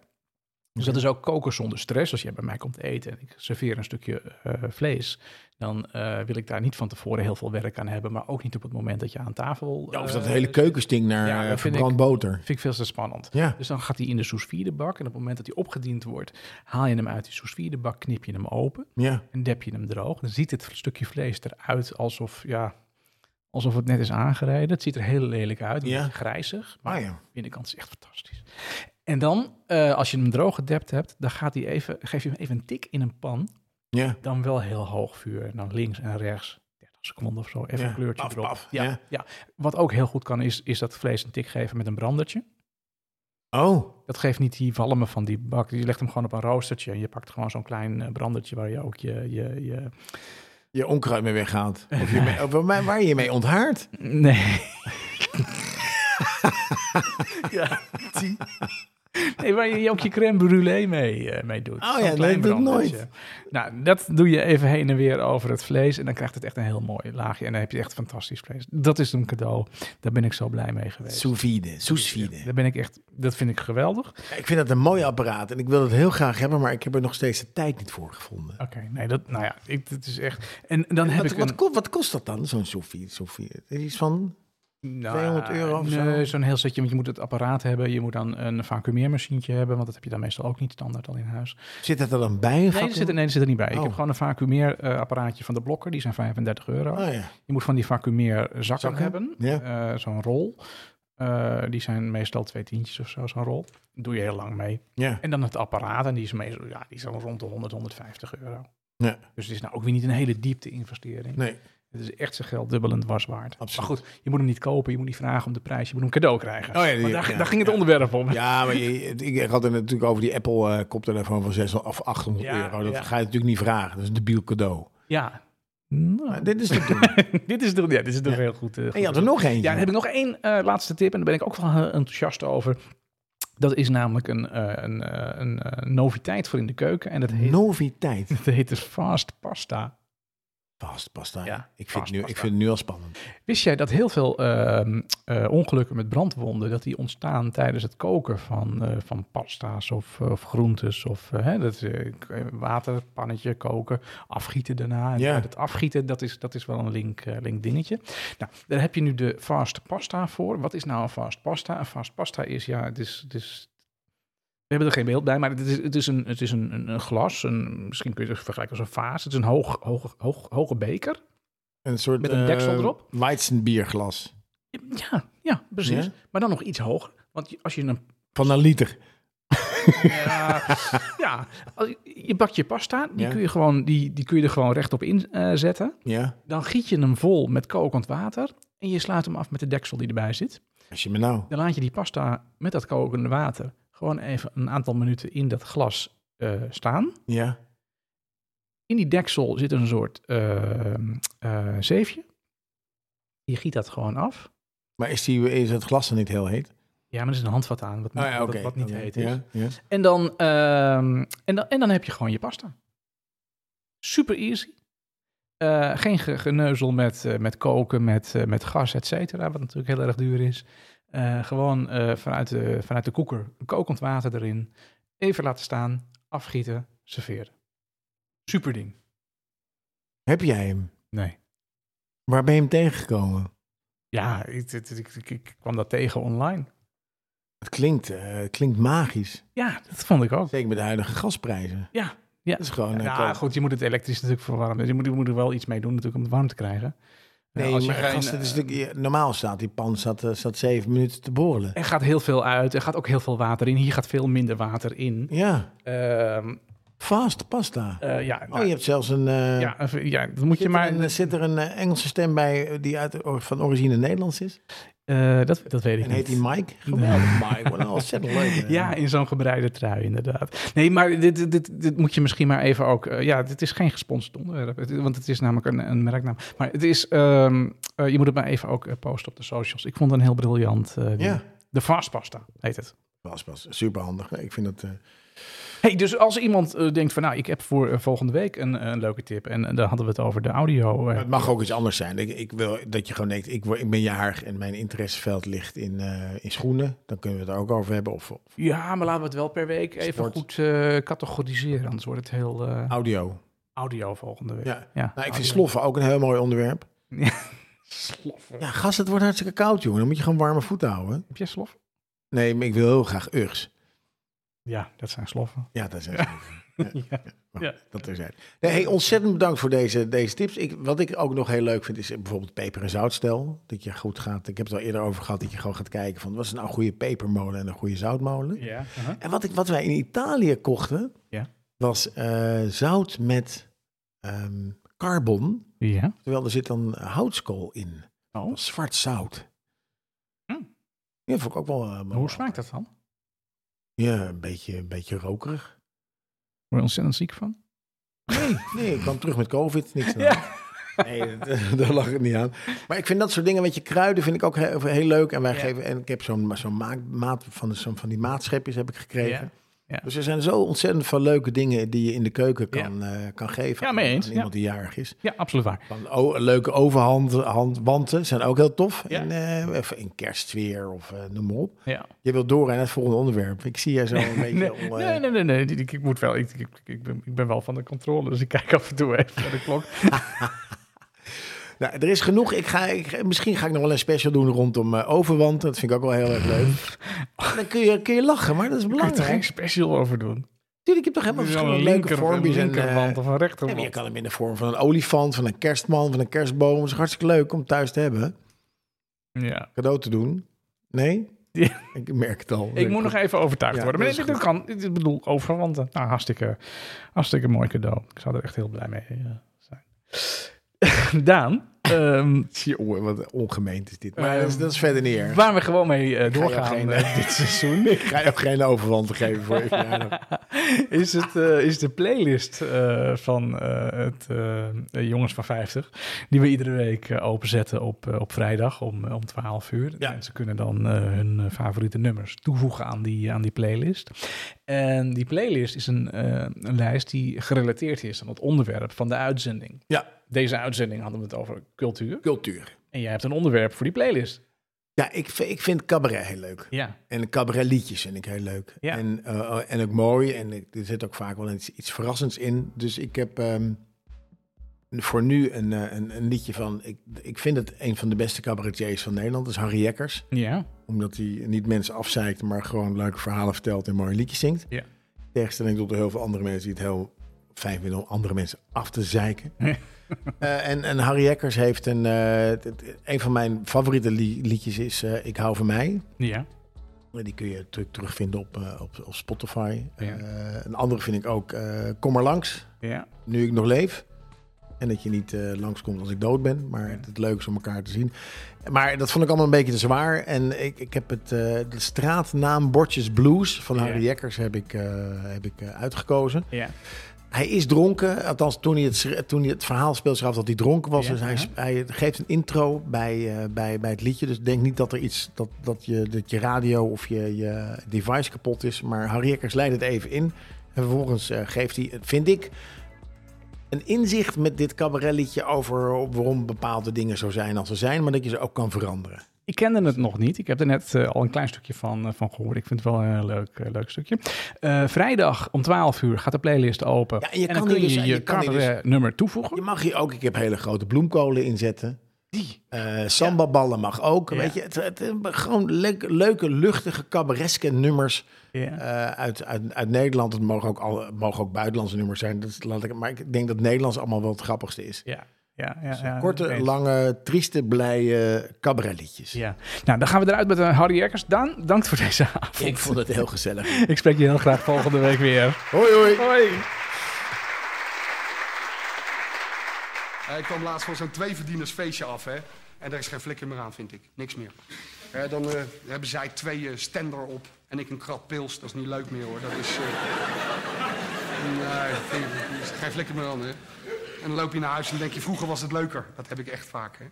S1: Dus
S2: Mhm.
S1: dat is ook koken zonder stress. Als jij bij mij komt eten en ik serveer een stukje eh, vlees, dan eh, wil ik daar niet van tevoren heel veel werk aan hebben, maar ook niet op het moment dat je aan tafel.
S2: Ja, of
S1: eh,
S2: dat hele keuken stinkt naar
S1: ja, dat
S2: eh,
S1: vind
S2: verbrand
S1: ik-
S2: boter.
S1: Vind ik veel te spannend.
S2: Ja.
S1: Dus dan gaat hij in de sous vide bak en op het moment dat hij opgediend wordt, haal je hem uit die sous vide bak, knip je hem open
S2: Ja.
S1: en dep je hem droog. Dan ziet het stukje vlees eruit alsof ja. Alsof het net is aangereden. Het ziet er heel lelijk uit. Een
S2: Ja.
S1: beetje grijzig. Maar
S2: Ah, ja.
S1: de binnenkant is echt fantastisch. En dan, eh, als je hem droog gedept hebt, dan gaat hij even, geef je hem even een tik in een pan.
S2: Ja.
S1: Dan wel heel hoog vuur. En dan links en rechts. 30 seconden of zo. Even
S2: Ja.
S1: een kleurtje
S2: Paf,
S1: erop.
S2: paf,
S1: Ja,
S2: ja.
S1: ja. Wat ook heel goed kan, is, is dat vlees een tik geven met een brandertje.
S2: Oh,
S1: Dat geeft niet die walmen van die bak. Je legt hem gewoon op een roostertje. En je pakt gewoon zo'n klein eh, brandertje waar je ook je, je, je,
S2: je onkruid mee weghaalt. Of je mee- of waar waar je mee onthaart.
S1: Nee. ja, die. Nee, waar je ook je crème brûlée mee, eh, mee doet.
S2: Oh
S1: Zo'n
S2: ja,
S1: klein
S2: dat doe ik
S1: brandertje.
S2: nooit.
S1: Nou, dat doe je even heen en weer over het vlees. En dan krijgt het echt een heel mooi laagje. En dan heb je echt fantastisch vlees. Dat is een cadeau. Daar ben ik zo blij mee geweest.
S2: Sous vide, sous vide.
S1: Daar ben ik echt, dat vind ik geweldig. Oké,
S2: Ik vind dat een mooi apparaat en ik wil het heel graag hebben, maar ik heb er nog steeds de tijd niet voor gevonden.
S1: nee, dat, nou ja, ik, dat is echt. En dan heb
S2: Wat,
S1: ik
S2: wat,
S1: een-
S2: ko- wat kost dat dan, zo'n sous vide? Sous vide? Is iets van
S1: Nou,
S2: 200 euro of zo?
S1: nee, zo'n heel setje, want je moet het apparaat hebben. Je moet dan een vacuümeermachientje hebben, want dat heb je dan meestal ook niet standaard al in huis.
S2: Zit dat er dan bij? een
S1: Nee,
S2: gat
S1: er zit,
S2: in?
S1: er- nee, er zit er niet bij. Ik
S2: Oh.
S1: heb gewoon een vacuümeerapparaatje van de blokker. Die zijn 35 euro.
S2: Oh ja.
S1: Je moet van die vacuümeerzakken
S2: Zakken?
S1: hebben.
S2: Ja.
S1: Eh, zo'n rol. Eh, die zijn meestal twee tientjes of zo, zo'n rol. Doe je heel lang mee.
S2: ja.
S1: En dan het apparaat. En die is meestal ja, die is dan rond de 100, 150 euro.
S2: Ja.
S1: Dus het is nou ook weer niet een hele diepte investering.
S2: Nee,
S1: Het is echt zijn geld dubbel en dwars waard.
S2: Absoluut.
S1: Maar goed, je moet hem niet kopen. Je moet niet vragen om de prijs. Je moet hem cadeau krijgen.
S2: Oh ja, die-
S1: Want daar,
S2: ja,
S1: daar ging het
S2: ja.
S1: onderwerp om.
S2: Ja, maar je- ik had het natuurlijk over die Apple eh, koptelefoon van 600 of 800
S1: Ja,
S2: euro. Dat
S1: ja. Oh.
S2: ga je natuurlijk niet vragen. Dat is een debiel cadeau.
S1: Ja. Nou,
S2: Maar dit is te doen.
S1: dit is toch ja, dit is toch
S2: Ja.
S1: heel goed. eh, goed
S2: en je had
S1: te
S2: er nog eentje.
S1: Ja, dan heb ik nog één eh, laatste tip en daar ben ik ook wel heel enthousiast over. Dat is namelijk een, eh, een, eh, een eh, noviteit voor in de keuken en dat heet,
S2: Noviteit.
S1: dat heet dus fast pasta.
S2: Vast pasta.
S1: Ja,
S2: ik, vind
S1: vast
S2: het nu, ik
S1: pasta.
S2: vind het nu al spannend.
S1: Wist jij dat heel veel ehm, eh, ongelukken met brandwonden, dat die ontstaan tijdens het koken van, eh, van pasta's of, of groentes of eh, hè, dat, eh, water, pannetje, koken, afgieten daarna. En
S2: Ja.
S1: uit het afgieten, dat is, dat is wel een link, eh, link dingetje. Nou, daar heb je nu de fast pasta voor. Wat is nou een fast pasta? Een fast pasta is, ja, het is... Het is we hebben er geen beeld bij, maar het is, het is, een, het is een, een, een glas. Een, misschien kun je het vergelijken als een vaas. Het is een hoog, hoog, hoog, hoge beker.
S2: Een soort
S1: Met een
S2: eh,
S1: deksel erop?
S2: Weizenbierglas.
S1: Ja, ja precies.
S2: Ja?
S1: Maar dan nog iets hoger. Want je- als je een.
S2: Van een liter.
S1: Ja, ja als je- je bakt je pasta, die,
S2: Ja.
S1: kun, je gewoon, die, die kun je er gewoon rechtop inzetten. zetten.
S2: Ja.
S1: dan giet je hem vol met kokend water. En je slaat hem af met de deksel die erbij zit.
S2: Als je me nou.
S1: Dan laat je die pasta met dat kokende water gewoon even een aantal minuten in dat glas eh, staan.
S2: Ja.
S1: In die deksel zit een soort eh, eh, zeefje. Je giet dat gewoon af.
S2: Maar is, die, is het glas dan niet heel heet?
S1: Ja, maar er is een handvat aan, wat,
S2: Ah, ja,
S1: wat-
S2: oké.
S1: wat niet
S2: Oké.
S1: heet is.
S2: Ja, ja.
S1: En dan, ehm, en, dan, en dan heb je gewoon je pasta. Super easy. Eh, geen ge- geneuzel met, eh, met koken, met, eh, met gas, et cetera, wat natuurlijk heel erg duur is. Eh, gewoon eh, vanuit, de, vanuit de koeker, kokend water erin, even laten staan, afgieten, serveren. Super ding.
S2: Heb jij hem?
S1: Nee.
S2: Waar ben je hem tegengekomen?
S1: Ja, ik, ik, ik, ik- ik kwam dat tegen online.
S2: Het klinkt, eh, het klinkt magisch.
S1: Ja, dat vond ik ook.
S2: Zeker met de huidige gasprijzen.
S1: Ja. Ja,
S2: Dat is gewoon... eh,
S1: ja
S2: koop.
S1: goed, je moet het elektrisch natuurlijk verwarmen. Je moet, je moet er wel iets mee doen natuurlijk om het warm te krijgen. Eh,
S2: Nee,
S1: als je
S2: maar
S1: geen,
S2: gast, het is
S1: eh,
S2: natuurlijk- je- normaal staat die pan zat, eh, zat zeven minuten te borrelen.
S1: er gaat heel veel uit, er gaat ook heel veel water in. Hier gaat veel minder water in.
S2: Ja,
S1: Ehm,
S2: vast pasta.
S1: eh, ja,
S2: Oh, je hebt zelfs een... eh,
S1: ja, even- ja, dat moet
S2: Zit
S1: je
S2: er,
S1: maar...
S2: een, zit er een eh, Engelse stem bij eh, die uit, or- van origine Nederlands is?
S1: Eh, dat, dat weet ik
S2: En
S1: niet.
S2: heet die Mike? Geweldig, Mike. Wat een ontzettend leuk. eh.
S1: Ja, in zo'n gebreide trui, inderdaad. Nee, maar dit, dit, dit moet je misschien maar even ook... eh, ja, dit is geen gesponsord onderwerp, het- want het is namelijk een, een merknaam. Maar het is... ehm, eh, je moet het maar even ook eh, posten op de socials. Ik vond het een heel briljant... eh, ding.
S2: Ja.
S1: De vastpasta heet het.
S2: Was pas superhandig. Ik vind dat... eh,
S1: Hey, dus als iemand eh, denkt van... Nou, ik heb voor eh, volgende week een, een leuke tip. En, eh, daar hadden we het over de audio. eh.
S2: maar het mag ook iets anders zijn. Ik, ik wil dat je gewoon denkt, ik, word- ik ben jarig en mijn interesseveld ligt in, eh, in schoenen. Dan kunnen we het er ook over hebben. Of, of
S1: ja, maar laten we het wel per week even
S2: Sport.
S1: goed eh, categoriseren. Anders wordt het heel eh,
S2: audio.
S1: audio volgende week.
S2: Ja.
S1: Ja.
S2: Nou, ik
S1: Audio.
S2: vind sloffen ook een heel mooi onderwerp.
S1: Ja.
S2: Sloffen. Ja, gast, het wordt hartstikke koud, jongen. Dan moet je gewoon warme voeten houden.
S1: Heb jij slof?
S2: Nee, maar ik wil heel graag Uggs.
S1: Ja, dat zijn sloffen.
S2: Ja, dat is ja.
S1: Ja. Ja.
S2: Dat terzijde. Nee, hey, ontzettend bedankt voor deze, deze tips. Ik, wat ik ook nog heel leuk vind is bijvoorbeeld peper- en zoutstel. Dat je goed gaat, ik heb het al eerder over gehad, dat je gewoon gaat kijken van wat is nou een goede pepermolen en een goede zoutmolen.
S1: Ja. uh-huh.
S2: En wat, ik, wat wij in Italië kochten,
S1: Ja.
S2: was eh, zout met ehm, carbon.
S1: ja.
S2: Terwijl er zit dan houtskool in.
S1: Oh.
S2: Zwart zout.
S1: Hm.
S2: Ja, vond ik ook wel... eh, wel-
S1: Hoe smaakt dat dan?
S2: Ja, een beetje, een beetje rokerig.
S1: Word je ontzettend ziek van?
S2: Nee, nee, ik kwam terug met covid, niks aan.
S1: Ja.
S2: Nee, dat- daar lag het niet aan. Maar ik vind dat soort dingen, weet je, kruiden vind ik ook heel, heel leuk. En wij
S1: Ja.
S2: geven, en ik heb zo'n zo'n maak- maat van, zo'n- van die maatschepjes heb ik gekregen.
S1: Ja. Ja.
S2: Dus er zijn zo ontzettend veel leuke dingen die je in de keuken
S1: Ja.
S2: kan, eh, kan geven.
S1: Ja, mee
S2: aan-
S1: eens,
S2: Aan iemand die jarig is.
S1: ja, absoluut waar.
S2: Van, oh, leuke overhandwanten zijn ook heel tof.
S1: Ja.
S2: En, eh, even in kerstsfeer of eh, noem maar op.
S1: Ja.
S2: Je wilt door naar het volgende onderwerp. Ik zie jij zo een beetje...
S1: Nee,
S2: om, eh,
S1: nee, nee, nee, nee. Ik, ik- ik moet wel, ik, ik, ik, ben, ik ben wel van de controle, dus ik kijk af en toe even naar de klok.
S2: Oh, Nou, er is genoeg. Ik ga, ik, misschien ga ik nog wel een special doen rondom eh overwanten. Dat vind ik ook wel heel erg leuk. Dan kun je, kun je lachen, maar dat is
S1: Ik kan er geen
S2: belangrijk.
S1: special over doen.
S2: Natuurlijk, ik heb toch helemaal
S1: Wel
S2: verschillende leuke
S1: een
S2: vormpjes. En, eh,
S1: linkerwand of een
S2: ja, maar je
S1: rechterwand.
S2: kan hem in de vorm van een olifant, van een kerstman, van een kerstboom. Dat is hartstikke leuk om thuis te hebben.
S1: Ja.
S2: Cadeau te doen. Nee?
S1: Ja.
S2: Ik merk het al.
S1: Ik moet nog even overtuigd
S2: Ja,
S1: worden. Maar
S2: dat
S1: dit,
S2: is
S1: dit kan, dit- ik bedoel, overwanten. Nou, hartstikke, hartstikke mooi cadeau. Ik zou er echt heel blij mee eh, zijn. Daan, ehm,
S2: Jongen, wat ongemeend is dit. Maar
S1: Ehm,
S2: dat, is, dat is verder neer.
S1: waar we gewoon mee eh,
S2: ga jou
S1: doorgaan
S2: geen,
S1: eh,
S2: eh,
S1: dit seizoen.
S2: Ik ga je ook geen overwand geven voor je verjaardag.
S1: is, het, eh, is de playlist eh, van eh, het eh, eh, Jongens van 50. Die we iedere week eh, openzetten op, eh, op vrijdag om, eh, om 12 uur.
S2: Ja.
S1: Mensen kunnen dan eh, hun eh, favoriete nummers toevoegen aan die, aan die playlist. En die playlist is een, eh, een lijst die gerelateerd is aan het onderwerp van de uitzending.
S2: Ja,
S1: Deze uitzending hadden we het over cultuur.
S2: cultuur.
S1: En jij hebt een onderwerp voor die playlist.
S2: Ja, ik, vind- ik vind cabaret heel leuk.
S1: Ja.
S2: En cabaretliedjes vind ik heel leuk.
S1: Ja.
S2: En, eh, en ook mooi. En ik- er zit ook vaak wel iets, iets verrassends in. Dus ik heb ehm, voor nu een, eh, een, een liedje van... Ik, ik vind het een van de beste cabaretiers van Nederland. Dat is Harry Jekkers.
S1: Ja.
S2: Omdat hij niet mensen afzeikt, maar gewoon leuke verhalen vertelt en mooie liedjes zingt.
S1: Ja.
S2: In Tegenstelling tot heel veel andere mensen die het heel fijn vinden om andere mensen af te zeiken. Eh, en, en Harry Jekkers heeft een... eh, het- het- een van mijn favoriete li- liedjes is eh, Ik hou van mij.
S1: Ja.
S2: En Die kun je natuurlijk terugvinden op, eh, op, op Spotify.
S1: Ja.
S2: Eh, een andere vind ik ook eh, Kom maar langs,
S1: Ja.
S2: nu ik nog leef. En dat je niet langs langskomt als ik dood ben. Maar
S1: Ja.
S2: het leuk is om elkaar te zien. Maar dat vond ik allemaal een beetje te zwaar. En ik, ik heb het, eh, de straatnaam Bordjes Blues van Harry
S1: Ja.
S2: Jekkers heb ik, eh, heb ik eh, uitgekozen.
S1: Ja.
S2: Hij is dronken. Althans, toen hij het, schre- toen hij het verhaal speelde, schreef dat hij dronken was.
S1: Ja,
S2: dus hij,
S1: ja.
S2: s- hij geeft een intro bij, eh, bij, bij het liedje. Dus denk niet dat er iets dat, dat, je, dat je radio of je, je device kapot is. Maar Harry Jekkers leidt het even in. En vervolgens eh, geeft hij, vind ik, een inzicht met dit cabaretliedje over waarom bepaalde dingen zo zijn als ze zijn. Maar dat je ze ook kan veranderen.
S1: Ik kende het nog niet. Ik heb er net eh, al een klein stukje van, eh, van gehoord. Ik vind het wel een heel leuk, eh, leuk stukje. Eh, vrijdag om 12 uur gaat de playlist open.
S2: Ja, en je
S1: en
S2: kan
S1: dan kun
S2: hier
S1: je
S2: dus-
S1: je,
S2: je kan hier
S1: cabaret nummer toevoegen.
S2: Je mag hier ook, ik heb hele grote bloemkolen inzetten.
S1: Die.
S2: Eh sambaballen mag ook.
S1: Ja.
S2: Weet je, het, het, eh, gewoon leuk- leuke, luchtige, cabareske nummers
S1: Ja.
S2: eh, uit, uit, uit Nederland. Het mogen ook, al, het mogen ook buitenlandse nummers zijn. Dat is- laat ik, maar ik denk dat Nederlands allemaal wel het grappigste is.
S1: Ja. Ja, ja, ja,
S2: dus Korte,
S1: opeens.
S2: lange, trieste, blije cabaretliedjes.
S1: Ja. Nou, dan gaan we eruit met eh, Harry Eckers. Daan, dank voor deze avond.
S2: Ik vond het heel gezellig.
S1: Ik spreek je heel graag volgende week weer.
S2: Hoi, hoi.
S1: Hoi.
S4: Ja, Eh, Ik kwam laatst van zo'n tweeverdienersfeestje af, hè. En daar is geen flikker meer aan, vind ik. Niks meer. Hè, dan eh, hebben zij twee eh, stender op en ik een krat pils. Dat is niet leuk meer, hoor. Dat is... eh, nee, vind ik- er is geen flikker meer aan, hè. En dan loop je naar huis en denk je, vroeger was het leuker. Dat heb ik echt vaak, hè.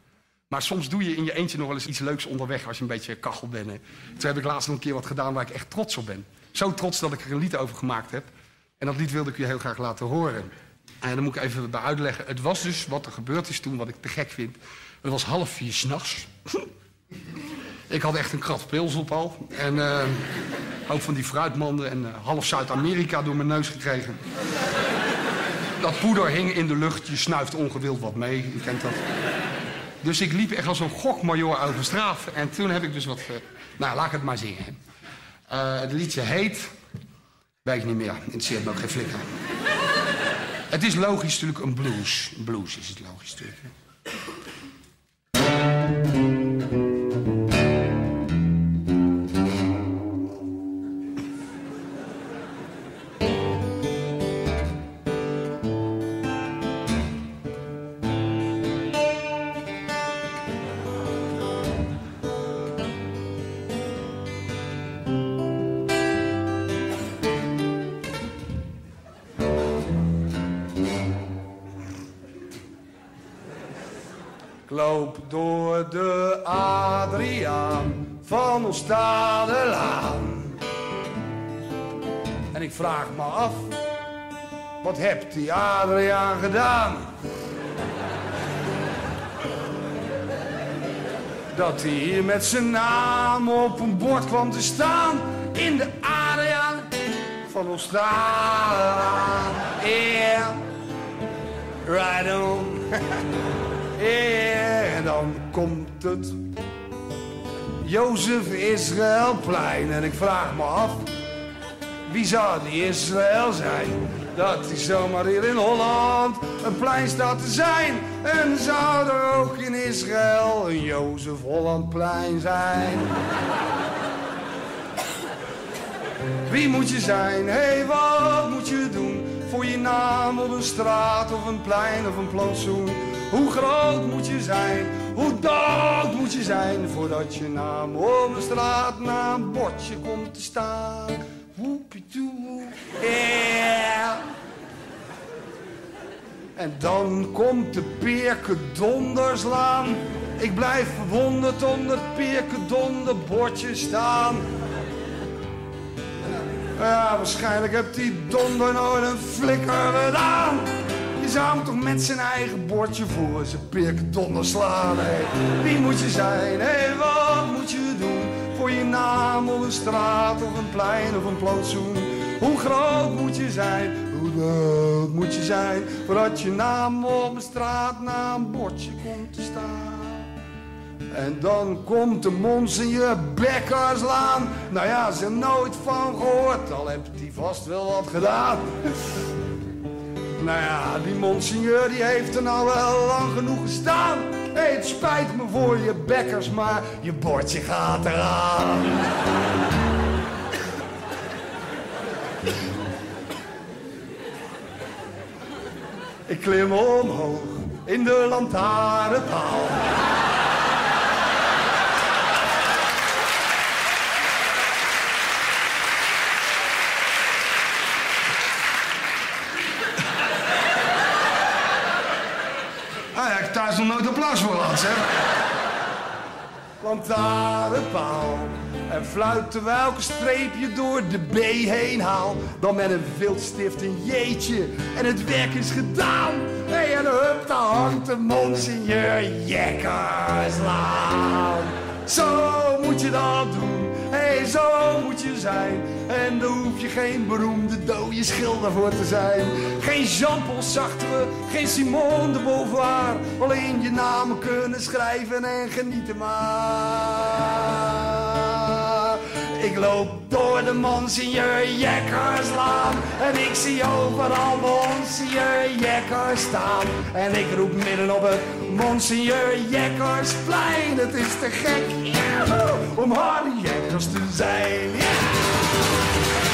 S4: Maar soms doe je in je eentje nog wel eens iets leuks onderweg als je een beetje kachel bent. Hè. Toen heb ik laatst nog een keer wat gedaan waar ik echt trots op ben. Zo trots dat ik er een lied over gemaakt heb. En dat lied wilde ik je heel graag laten horen. En dan moet ik even bij uitleggen. Het was dus wat er gebeurd is toen, wat ik te gek vind. Het was half vier s'nachts. ik had echt een krat pils op al. En eh, ook van die fruitmanden en eh, half Zuid-Amerika door mijn neus gekregen. Dat poeder hing in de lucht, je snuift ongewild wat mee, je kent dat. Dus ik liep echt als een gokmajor over straat. En toen heb ik dus wat... eh, nou, laat ik het maar zingen. Eh, het liedje heet... Weet ik niet meer, interesseert me ook geen flikker. Het is logisch natuurlijk een blues. Een blues is het logisch natuurlijk. hè. Ik loop door de Adriaan van Oostadelaan. En ik vraag me af, wat hebt die Adriaan gedaan? Dat hij hier met zijn naam op een bord kwam te staan in de Adriaan van Oostadelaan. Yeah, right on. En dan komt het Jozef Israëlplein. En ik vraag me af, wie zou die Israël zijn? Dat hij zomaar hier in Holland een plein staat te zijn. En zou er ook in Israël een Jozef Hollandplein zijn? Wie moet je zijn? Hé, hey, wat moet je doen? Voor je naam op een straat of een plein of een plantsoen. Hoe groot moet je zijn? Hoe dood moet je zijn? Voordat je naam op een straat na een bordje komt te staan. Woepie-toe. Yeah. En dan komt de Peerke Donderslaan. Ik blijf verwonderd onder het Peerke Donderbordje staan. Ja, waarschijnlijk hebt die donder nooit een flikker gedaan. Je zou hem toch met zijn eigen bordje voor zijn pik donder slaan. hé. Wie moet je zijn? Hé, wat moet je doen? Voor je naam op een straat of een plein of een plantsoen. Hoe groot moet je zijn? Hoe groot moet je zijn? Voordat je naam op een straat na een bordje komt te staan. En dan komt de monseigneur Bekkerslaan. Nou ja, ze hebben nooit van gehoord, al hebt hij vast wel wat gedaan. nou ja, die monseigneur die heeft er nou wel lang genoeg gestaan. Hé, het spijt me voor je bekkers, maar je bordje gaat eraan. Ik klim omhoog in de lantaarnpaal. Ah, ja, ik heb thuis nog nooit applaus voor gehad, zeg. Want daar de paal en fluit terwijl ik een streepje door de B heen haal. Dan met een wildstift een jeetje en het werk is gedaan. Hé, hey, en hup, daar hangt de monseigneur Jekkerslaan. Zo moet je dat doen. Hé, hey, zo moet je zijn. En daar hoef je geen beroemde dode schilder voor te zijn. Geen Jean-Paul Sartre, geen Simone de Beauvoir. Alleen je namen kunnen schrijven en genieten maar. Ik loop door de Monsignor Jekkerslaan. En ik zie overal Monsignor Jekkers staan. En ik roep midden op het Monsignor Jekkersplein. Het is te gek. Yahoo! om Harry Jekkers te zijn. Ja!